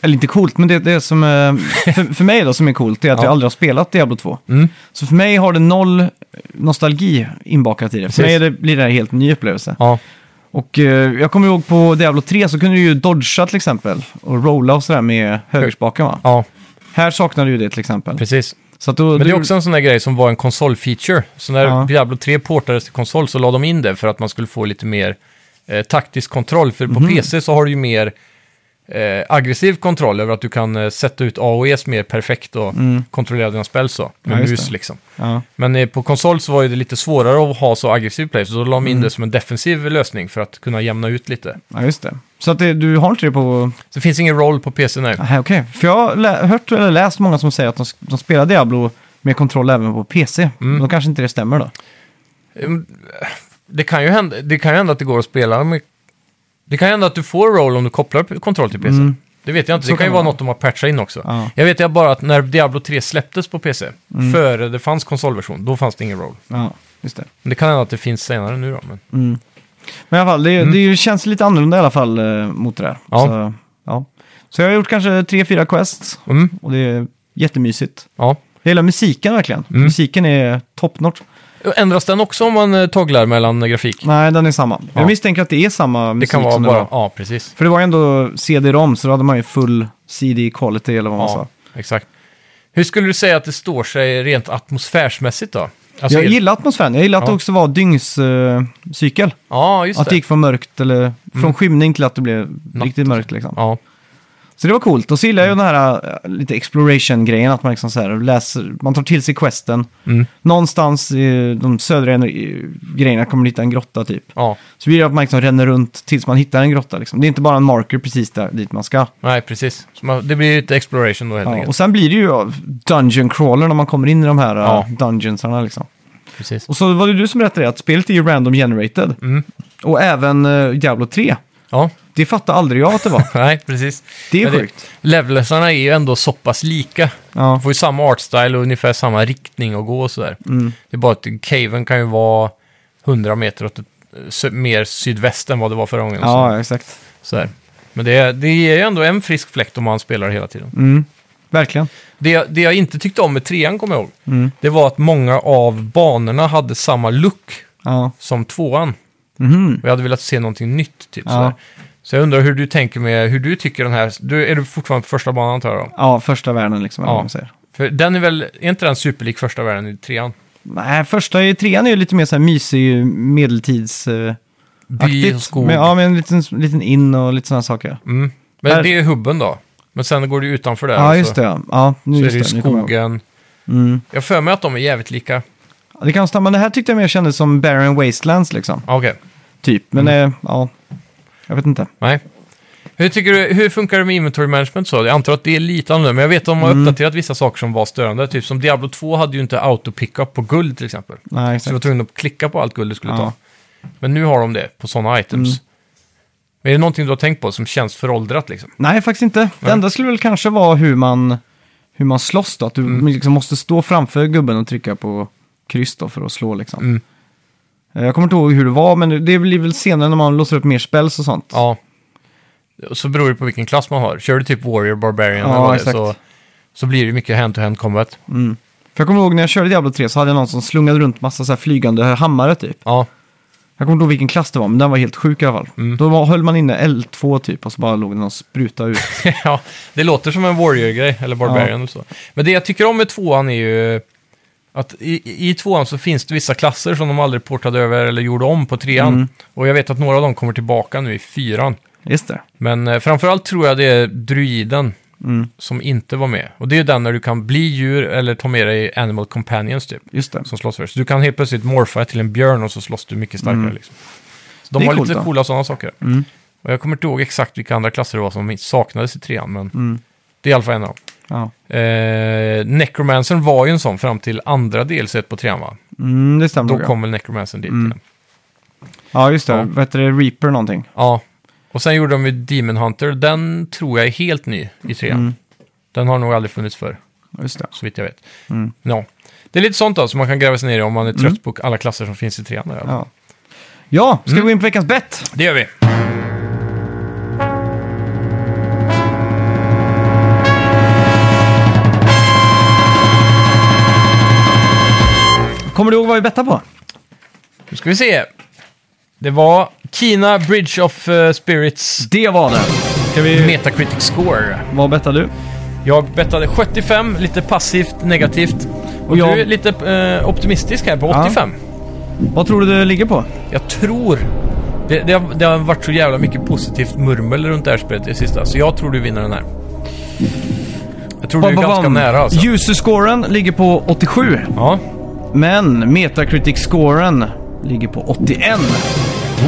Speaker 1: eller inte coolt, men det, det som eh, för, för mig då som är coolt är att
Speaker 2: Ja.
Speaker 1: jag aldrig har spelat Diablo 2.
Speaker 2: Mm.
Speaker 1: Så för mig har det noll nostalgi inbakat i det.
Speaker 2: Precis.
Speaker 1: För mig är det, blir det här en helt ny upplevelse.
Speaker 2: Ja,
Speaker 1: Och eh, jag kommer ihåg på Diablo 3 så kunde du ju dodga till exempel och rolla och sådär med högerspaken va?
Speaker 2: ja
Speaker 1: Här saknar du ju det till exempel.
Speaker 2: precis.
Speaker 1: Så att då,
Speaker 2: Men det
Speaker 1: du-
Speaker 2: är också en sån där grej som var en konsolfeature. Så när
Speaker 1: Ja.
Speaker 2: Diablo 3 portades till konsol så la de in det för att man skulle få lite mer eh, taktisk kontroll. För på
Speaker 1: Mhm.
Speaker 2: PC så har du ju mer eh, aggressiv kontroll över att du kan eh, sätta ut AOEs mer perfekt och kontrollera dina spel så. Med
Speaker 1: Mm. Ja, just
Speaker 2: mus
Speaker 1: det.
Speaker 2: liksom.
Speaker 1: Ja,
Speaker 2: Men eh, på konsol så var ju det lite svårare att ha så aggressiv play, så då la de
Speaker 1: Mm.
Speaker 2: in det som en defensiv lösning för att kunna jämna ut lite.
Speaker 1: ja, just det. Så att det, du har inte det på...
Speaker 2: Så det finns ingen roll på PC nu.
Speaker 1: Nej, okej. För jag har lä- hört eller läst många som säger att de, de spelar Diablo med kontroll även på PC. Men då kanske inte det stämmer då.
Speaker 2: Mm, Det kan ju hända, det kan ju hända att det går att spela med... Det kan ju hända att du får roll om du kopplar p- kontroll till PC. Det vet jag inte,
Speaker 1: Mm. Så
Speaker 2: det kan
Speaker 1: kan
Speaker 2: ju
Speaker 1: det
Speaker 2: vara
Speaker 1: vara.
Speaker 2: något de har patchat in också.
Speaker 1: Ja. Mm.
Speaker 2: Jag vet jag bara att när Diablo 3 släpptes på PC, före det fanns konsolversion, då fanns det ingen roll.
Speaker 1: Ja, just det.
Speaker 2: Men det kan hända att det finns senare nu då. Men...
Speaker 1: Men i alla fall, det, det känns lite annorlunda i alla fall eh, mot det där.
Speaker 2: Mm. Ja.
Speaker 1: Så, ja. så jag har gjort kanske tre, fyra quests
Speaker 2: Mm,
Speaker 1: och det är jättemysigt.
Speaker 2: ja.
Speaker 1: Jag gillar musiken verkligen.
Speaker 2: Mm.
Speaker 1: Musiken är top notch.
Speaker 2: Ändras den också om man eh, togglar mellan eh, grafik?
Speaker 1: Nej, den är samma.
Speaker 2: Ja.
Speaker 1: Jag misstänker att det är samma
Speaker 2: det
Speaker 1: musik
Speaker 2: kan vara
Speaker 1: som det
Speaker 2: bara...
Speaker 1: var.
Speaker 2: Ja, precis.
Speaker 1: För det var ju ändå CD-ROM, så då hade man ju full CD quality eller vad man
Speaker 2: Alltså
Speaker 1: sa.
Speaker 2: exakt. Hur skulle du säga att det står sig rent atmosfärsmässigt då? Alltså,
Speaker 1: Jag gillar atmosfären. Jag gillar att
Speaker 2: Ja.
Speaker 1: det också var dygnscykel.
Speaker 2: Ja, just
Speaker 1: att det
Speaker 2: det. Mm.
Speaker 1: gick från mörkt eller från skymning till att det blev riktigt mörkt liksom.
Speaker 2: Ja,
Speaker 1: Så det var coolt. Och så gillar jag ju den här äh, lite exploration-grejen, att man liksom så här läser, man tar till sig questen.
Speaker 2: Mm.
Speaker 1: Någonstans i de södra ener- grejerna kommer man hitta en grotta typ.
Speaker 2: ja.
Speaker 1: Så blir det att man liksom ränner runt tills man hittar en grotta liksom. Det är inte bara en marker precis där dit man ska.
Speaker 2: Nej, precis. Så man- Det blir ju ett exploration då helt
Speaker 1: Ja,
Speaker 2: enkelt.
Speaker 1: och sen blir det ju ja, dungeon crawler när man kommer in i de här äh,
Speaker 2: Ja.
Speaker 1: dungeonsarna liksom.
Speaker 2: Precis.
Speaker 1: Och så var det du som berättade att spelet är ju random generated.
Speaker 2: Mm.
Speaker 1: Och även äh, Diablo 3.
Speaker 2: Ja,
Speaker 1: Det fattade aldrig jag att det var.
Speaker 2: nej, precis.
Speaker 1: Det är
Speaker 2: Men
Speaker 1: sjukt.
Speaker 2: Levelsarna är ju ändå så pass lika.
Speaker 1: Ja.
Speaker 2: De får ju samma artstyle och ungefär samma riktning att gå och sådär.
Speaker 1: Mm.
Speaker 2: Det är bara att caven kan ju vara 100 meter åt ett, sö- mer sydväst än vad det var förra gången. och så-
Speaker 1: Ja, exakt.
Speaker 2: sådär. Men det, det ger ju ändå en frisk fläkt om man spelar hela tiden.
Speaker 1: Mm. Verkligen. Mm.
Speaker 2: Det, jag- det jag inte tyckte om med trean, kommer jag ihåg, det var att många av banorna hade samma look
Speaker 1: Ja.
Speaker 2: som tvåan.
Speaker 1: Mhm.
Speaker 2: Och jag hade velat se någonting nytt, typ
Speaker 1: Ja.
Speaker 2: sådär. Så jag undrar hur du tänker med, hur du tycker den här, du, är du fortfarande på första banan antar jag då?
Speaker 1: Ja, första världen liksom.
Speaker 2: Ja.
Speaker 1: Ja. Man säger.
Speaker 2: För den är väl, är inte den superlik första världen i trean?
Speaker 1: Nej, första i trean är ju lite mer så här mysig medeltids... eh,
Speaker 2: By och
Speaker 1: aktigt.
Speaker 2: skog.
Speaker 1: Men, ja, med en liten, liten in och lite sådana saker.
Speaker 2: Mm. Men
Speaker 1: Här-
Speaker 2: det är hubben då? Men sen går du utanför där och
Speaker 1: ja, just det. Ja, ja nu
Speaker 2: alltså, Så, så är
Speaker 1: just
Speaker 2: det ju
Speaker 1: det. Nu kommer jag ihåg.
Speaker 2: skogen.
Speaker 1: Mm.
Speaker 2: Jag har för mig att de är jävligt lika.
Speaker 1: Ja, Det kan stämma. Men det här tyckte jag mer kändes som Barren Wastelands liksom.
Speaker 2: Ah, Okej,
Speaker 1: Typ. Men
Speaker 2: Mm.
Speaker 1: eh, ja, jag vet inte.
Speaker 2: nej. Hur, tycker du, hur funkar det med inventory management så? Jag antar att det är lite annorlunda, men jag vet att de har
Speaker 1: Mm.
Speaker 2: uppdaterat vissa saker som var störande. Typ som Diablo 2 hade ju inte auto-pickup på guld till exempel.
Speaker 1: Nej,
Speaker 2: Så du var
Speaker 1: Mm, exakt.
Speaker 2: tvungen att klicka på allt guld du skulle
Speaker 1: Ja. Mm.
Speaker 2: ta. Men nu har de det på sådana items. Men är det någonting du har tänkt på som känns föråldrat liksom?
Speaker 1: Nej, faktiskt inte. Det
Speaker 2: Nej.
Speaker 1: enda skulle väl kanske vara hur man, hur man slåss då. Att du
Speaker 2: Mm.
Speaker 1: liksom måste stå framför gubben och trycka på kryss då för att slå liksom.
Speaker 2: Mm.
Speaker 1: Eh, Jag kommer inte ihåg hur det var, men det blir väl senare när man låser upp mer spells och sånt.
Speaker 2: Ja. Så beror det på vilken klass man har. Kör du typ Warrior, Barbarian
Speaker 1: Ja,
Speaker 2: eller vad det är,
Speaker 1: exakt.
Speaker 2: så, så blir det mycket hand-to-hand combat.
Speaker 1: För jag kommer ihåg när jag körde Diablo 3 så hade jag någon som slungade runt massa så här flygande hammare typ.
Speaker 2: Ja,
Speaker 1: Jag kommer inte ihåg vilken klass det var, men den var helt sjuk i alla fall.
Speaker 2: Mm.
Speaker 1: Då var, höll man inne L2 typ och så bara låg den och sprutade ut.
Speaker 2: ja, det låter som en Warrior-grej, eller Barbarian eller så. Men det jag tycker om med tvåan är ju att i, i tvåan så finns det vissa klasser som de aldrig portade över eller gjorde om på trean. Och jag vet att några av dem kommer tillbaka nu i fyran.
Speaker 1: Just det.
Speaker 2: Men eh, framförallt tror jag det är druiden
Speaker 1: Mm.
Speaker 2: som inte var med. Och det är ju den när du kan bli djur eller ta med dig animal companions typ,
Speaker 1: Just det.
Speaker 2: som slåss för. Så du kan helt plötsligt morfa till en björn och så slåss du mycket starkare liksom. Så de
Speaker 1: Mm. Det är
Speaker 2: har
Speaker 1: coolt,
Speaker 2: lite
Speaker 1: då. Mm.
Speaker 2: coola sådana saker. Och jag kommer inte ihåg exakt vilka andra klasser det var som saknades i trean, men
Speaker 1: Mm.
Speaker 2: det är i alla fall en av dem.
Speaker 1: Ja.
Speaker 2: Eh, Necromancern var ju en sån fram till andra delset på trean va?
Speaker 1: Mm, det stämmer nog,
Speaker 2: Då
Speaker 1: ja. Mm.
Speaker 2: kom väl Necromancern dit igen.
Speaker 1: Ja, just det.
Speaker 2: Ja.
Speaker 1: Vad heter det? Reaper någonting.
Speaker 2: Ja. Och sen gjorde de ju Demon Hunter. Den tror jag är helt ny i trean.
Speaker 1: Mm.
Speaker 2: Den har nog aldrig funnits förr,
Speaker 1: Just det.
Speaker 2: så vitt jag vet.
Speaker 1: Mm.
Speaker 2: Ja. Det är lite sånt då, som man kan gräva sig ner i om man är trött på alla klasser som finns i trean. där.
Speaker 1: Ja. Ja,
Speaker 2: Mm.
Speaker 1: ska vi gå in på veckans bett?
Speaker 2: Det gör vi.
Speaker 1: Kommer du ihåg vad vi bettade på?
Speaker 2: Nu ska vi se. Det var Kina Bridge of eh, Spirits
Speaker 1: Det var det. Ska vi...
Speaker 2: Metacritic Score.
Speaker 1: Vad bettade du?
Speaker 2: Jag bettade 75, lite passivt negativt. Och,
Speaker 1: Och jag-
Speaker 2: du är lite eh, optimistisk här på
Speaker 1: Ja.
Speaker 2: 85.
Speaker 1: Vad tror du det ligger på?
Speaker 2: Jag tror... Det, det, har, det har varit så jävla mycket positivt murmel runt det här spelet i sista, så jag tror du vinner den här. Jag tror du är
Speaker 1: Ba-ba-bam.
Speaker 2: ganska nära alltså.
Speaker 1: User-scoren ligger på 87.
Speaker 2: Ja.
Speaker 1: Men Metacritic-scoren ligger på 81.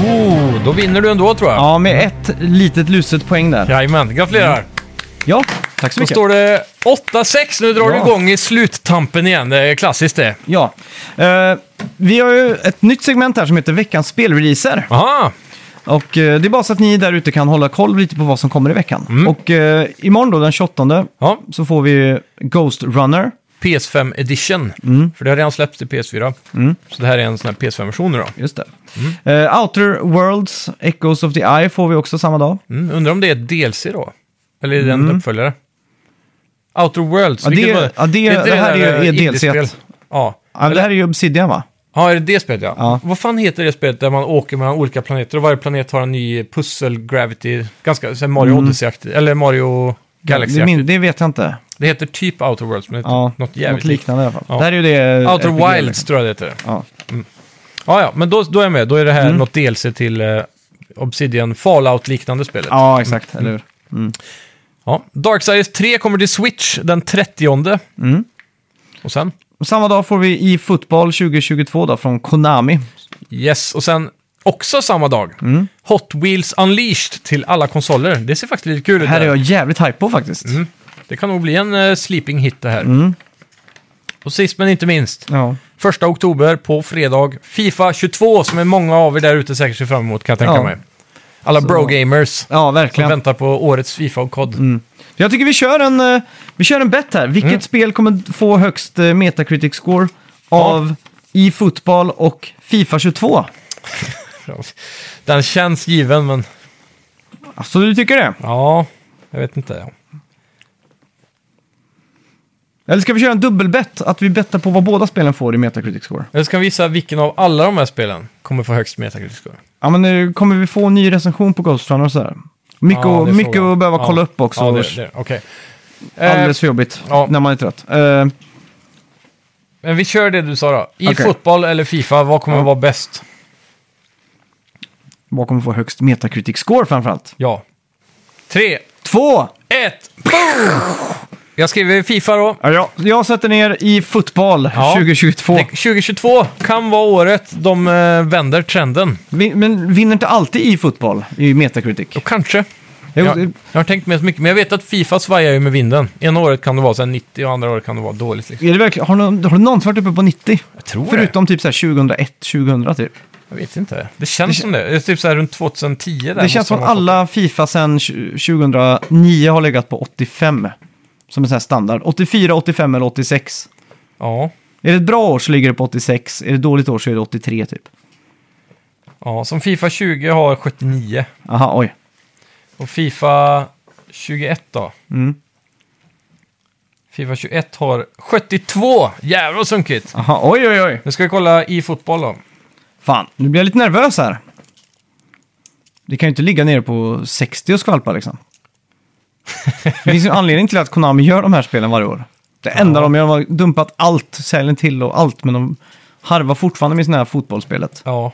Speaker 2: Oh, då vinner du ändå tror jag.
Speaker 1: Ja, med ett litet luset poäng där.
Speaker 2: Jajamän, gratulerar.
Speaker 1: Ja, tack så
Speaker 2: Då
Speaker 1: mycket.
Speaker 2: står det 8-6, nu drar
Speaker 1: Ja.
Speaker 2: du igång i sluttampen igen. Det är klassiskt det.
Speaker 1: Ja. Eh, vi har ju ett nytt segment här som heter Veckans spelreleaser.
Speaker 2: Aha!
Speaker 1: Och eh, det är bara så att ni där ute kan hålla koll lite på vad som kommer i veckan. Och eh, imorgon då, den 28,
Speaker 2: Ja,
Speaker 1: så får vi Ghost Runner.
Speaker 2: PS5 Edition. För det har redan släppts till PS4. Så det här är en sån här PS5-version nu då.
Speaker 1: Just det. Eh, Outer Worlds, Echoes of the Eye får vi också samma dag.
Speaker 2: Mm. Undrar om det är ett DLC då? Eller är det en uppföljare? Outer Worlds,
Speaker 1: Mm. Ja, det-
Speaker 2: vilket var det?
Speaker 1: ja, det-
Speaker 2: är
Speaker 1: det här
Speaker 2: där,
Speaker 1: är ju- är
Speaker 2: eh,
Speaker 1: DLC.
Speaker 2: indiespel. Ja.
Speaker 1: Ja, det här är ju Obsidian va?
Speaker 2: ja, är det det spelet ja.
Speaker 1: Ja.
Speaker 2: Vad fan heter det spelet där man åker mellan olika planeter och varje planet har en ny pussel, gravity, ganska så här Mario Odyssey-aktigt, eller Mario
Speaker 1: Mm. Det,
Speaker 2: Galaxy-aktigt.
Speaker 1: min- det vet jag inte.
Speaker 2: Det heter typ Outer Worlds, men det heter
Speaker 1: Ja,
Speaker 2: något jävligt likt.
Speaker 1: liknande i alla fall.
Speaker 2: Ja.
Speaker 1: Det här är ju det...
Speaker 2: Outer
Speaker 1: RPG liksom.
Speaker 2: Wilds tror jag det heter.
Speaker 1: Ja.
Speaker 2: Ja, ja, men då, då är jag med. Då är det här
Speaker 1: Mm.
Speaker 2: något DLC till eh, Obsidian Fallout-liknande spelet. Ja.
Speaker 1: ja, exakt. Eller hur?
Speaker 2: Darksiders 3 kommer till Switch den 30.
Speaker 1: Mm.
Speaker 2: Och sen?
Speaker 1: Och Samma dag får vi i fotboll 2022 då, från Konami.
Speaker 2: Yes, och sen också samma dag.
Speaker 1: Mm.
Speaker 2: Hot Wheels Unleashed till alla konsoler. Det ser faktiskt lite kul
Speaker 1: Det
Speaker 2: ut.
Speaker 1: här är
Speaker 2: där.
Speaker 1: jag jävligt hype på faktiskt.
Speaker 2: Mm. Det kan nog bli en eh, sleeping hit det här.
Speaker 1: Mm.
Speaker 2: Och sist men inte minst,
Speaker 1: Ja.
Speaker 2: första oktober på fredag, Fifa 22 som är många av er där ute säkert ser fram emot kan jag tänka
Speaker 1: Ja.
Speaker 2: mig. Alla bro-gamers.
Speaker 1: ja,
Speaker 2: Som
Speaker 1: verkligen. Mm.
Speaker 2: väntar på årets Fifa och COD.
Speaker 1: Jag tycker vi kör en, eh, vi kör en bet här. Vilket
Speaker 2: Mm.
Speaker 1: spel kommer få högst eh, Metacritic score av i fotboll och Fifa 22?
Speaker 2: Den känns given, men
Speaker 1: Alltså du tycker det?
Speaker 2: ja, jag vet inte.
Speaker 1: Eller ska vi köra en dubbelbett? Att vi bettar på vad båda spelen får i Metacritic score?
Speaker 2: Jag ska visa vilken av alla de här spelen kommer få högst metacritic score.
Speaker 1: Ja men nu kommer vi få en ny recension på Ghost Runner och sådär? Mycket,
Speaker 2: Ja, det är
Speaker 1: att- mycket
Speaker 2: frågan.
Speaker 1: att behöva
Speaker 2: Ja.
Speaker 1: kolla upp också.
Speaker 2: Ja, det, det, okej. Eh,
Speaker 1: Alldeles för jobbigt
Speaker 2: ja.
Speaker 1: när man är trött. Eh,
Speaker 2: men vi kör det du sa då. I
Speaker 1: Okej.
Speaker 2: fotboll eller Fifa, vad kommer
Speaker 1: Ja.
Speaker 2: vara bäst?
Speaker 1: vad kommer få högst Metacritic score framförallt?
Speaker 2: Ja. Tre,
Speaker 1: Två!
Speaker 2: ett, boom! Jag skriver Fifa då.
Speaker 1: Ja, jag, jag sätter ner i fotboll
Speaker 2: Ja.
Speaker 1: 2022.
Speaker 2: Det- 2022 kan vara året de eh, vänder trenden.
Speaker 1: Vi- Men vinner inte alltid i fotboll i Metacritic?
Speaker 2: Och kanske.
Speaker 1: Jo,
Speaker 2: Jag,
Speaker 1: det-
Speaker 2: jag har tänkt med så mycket, men jag vet att Fifa svajar ju med vinden. Ena året kan det vara så här 90 och andra året kan det vara dåligt. Liksom.
Speaker 1: Är det verkligen, har, du, har du någonsin varit uppe på 90?
Speaker 2: Jag tror
Speaker 1: Förutom typ så här 2001, 2000 typ.
Speaker 2: det. Jag vet inte. Det känns som det. Det är typ så här runt 2010 där.
Speaker 1: det känns
Speaker 2: måste
Speaker 1: som
Speaker 2: man ha fått
Speaker 1: alla Fifa sedan 20- 2009 har legat på 85. Som en sån här standard. 84, 85 eller 86.
Speaker 2: det. Ja.
Speaker 1: Är det ett bra år så ligger det på 86. Är det ett dåligt år så är det 83 typ.
Speaker 2: ja, som Fifa 20 har 79.
Speaker 1: Aha, oj.
Speaker 2: Och Fifa 21 då?
Speaker 1: Mm.
Speaker 2: Fifa 21 har 72! Jävlar vad sunkigt!
Speaker 1: Aha, oj, oj, oj.
Speaker 2: Nu ska vi kolla i fotboll då.
Speaker 1: Fan, nu blir jag lite nervös här. Det kan ju inte ligga nere på 60 och skvalpa liksom. Det finns ju en anledning till att Konami gör de här spelen varje år. Det enda de gör, de har dumpat allt, säljen till och allt, men de harvar fortfarande med sina här fotbollsspelet.
Speaker 2: Ja.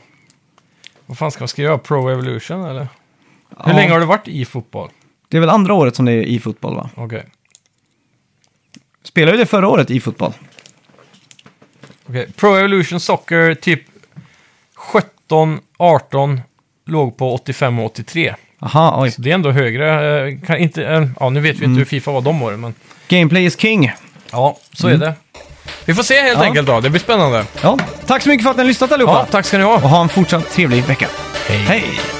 Speaker 2: Vad fan ska man skriva? Pro Evolution eller? Hur
Speaker 1: Ja.
Speaker 2: länge har du varit i fotboll?
Speaker 1: Det är väl andra året som det är i fotboll va?
Speaker 2: Okej.
Speaker 1: Spelade ju det förra året i fotboll?
Speaker 2: Okej, Pro Evolution Soccer typ 17, 18 låg på 85 och 83.
Speaker 1: Aha, oj.
Speaker 2: Så det är ändå högre. eh, Kan
Speaker 1: Mm.
Speaker 2: inte, eh, ja, nu vet vi inte hur Fifa var de åren, men
Speaker 1: Gameplay is king.
Speaker 2: ja, så är det. Vi får se helt
Speaker 1: mm. Ja.
Speaker 2: enkelt då. Det blir spännande.
Speaker 1: Ja, tack så mycket för att ni har lyssnat allihopa.
Speaker 2: Ja, tack ska ni ha.
Speaker 1: Och ha en fortsatt trevlig vecka. Hej!
Speaker 3: oh oh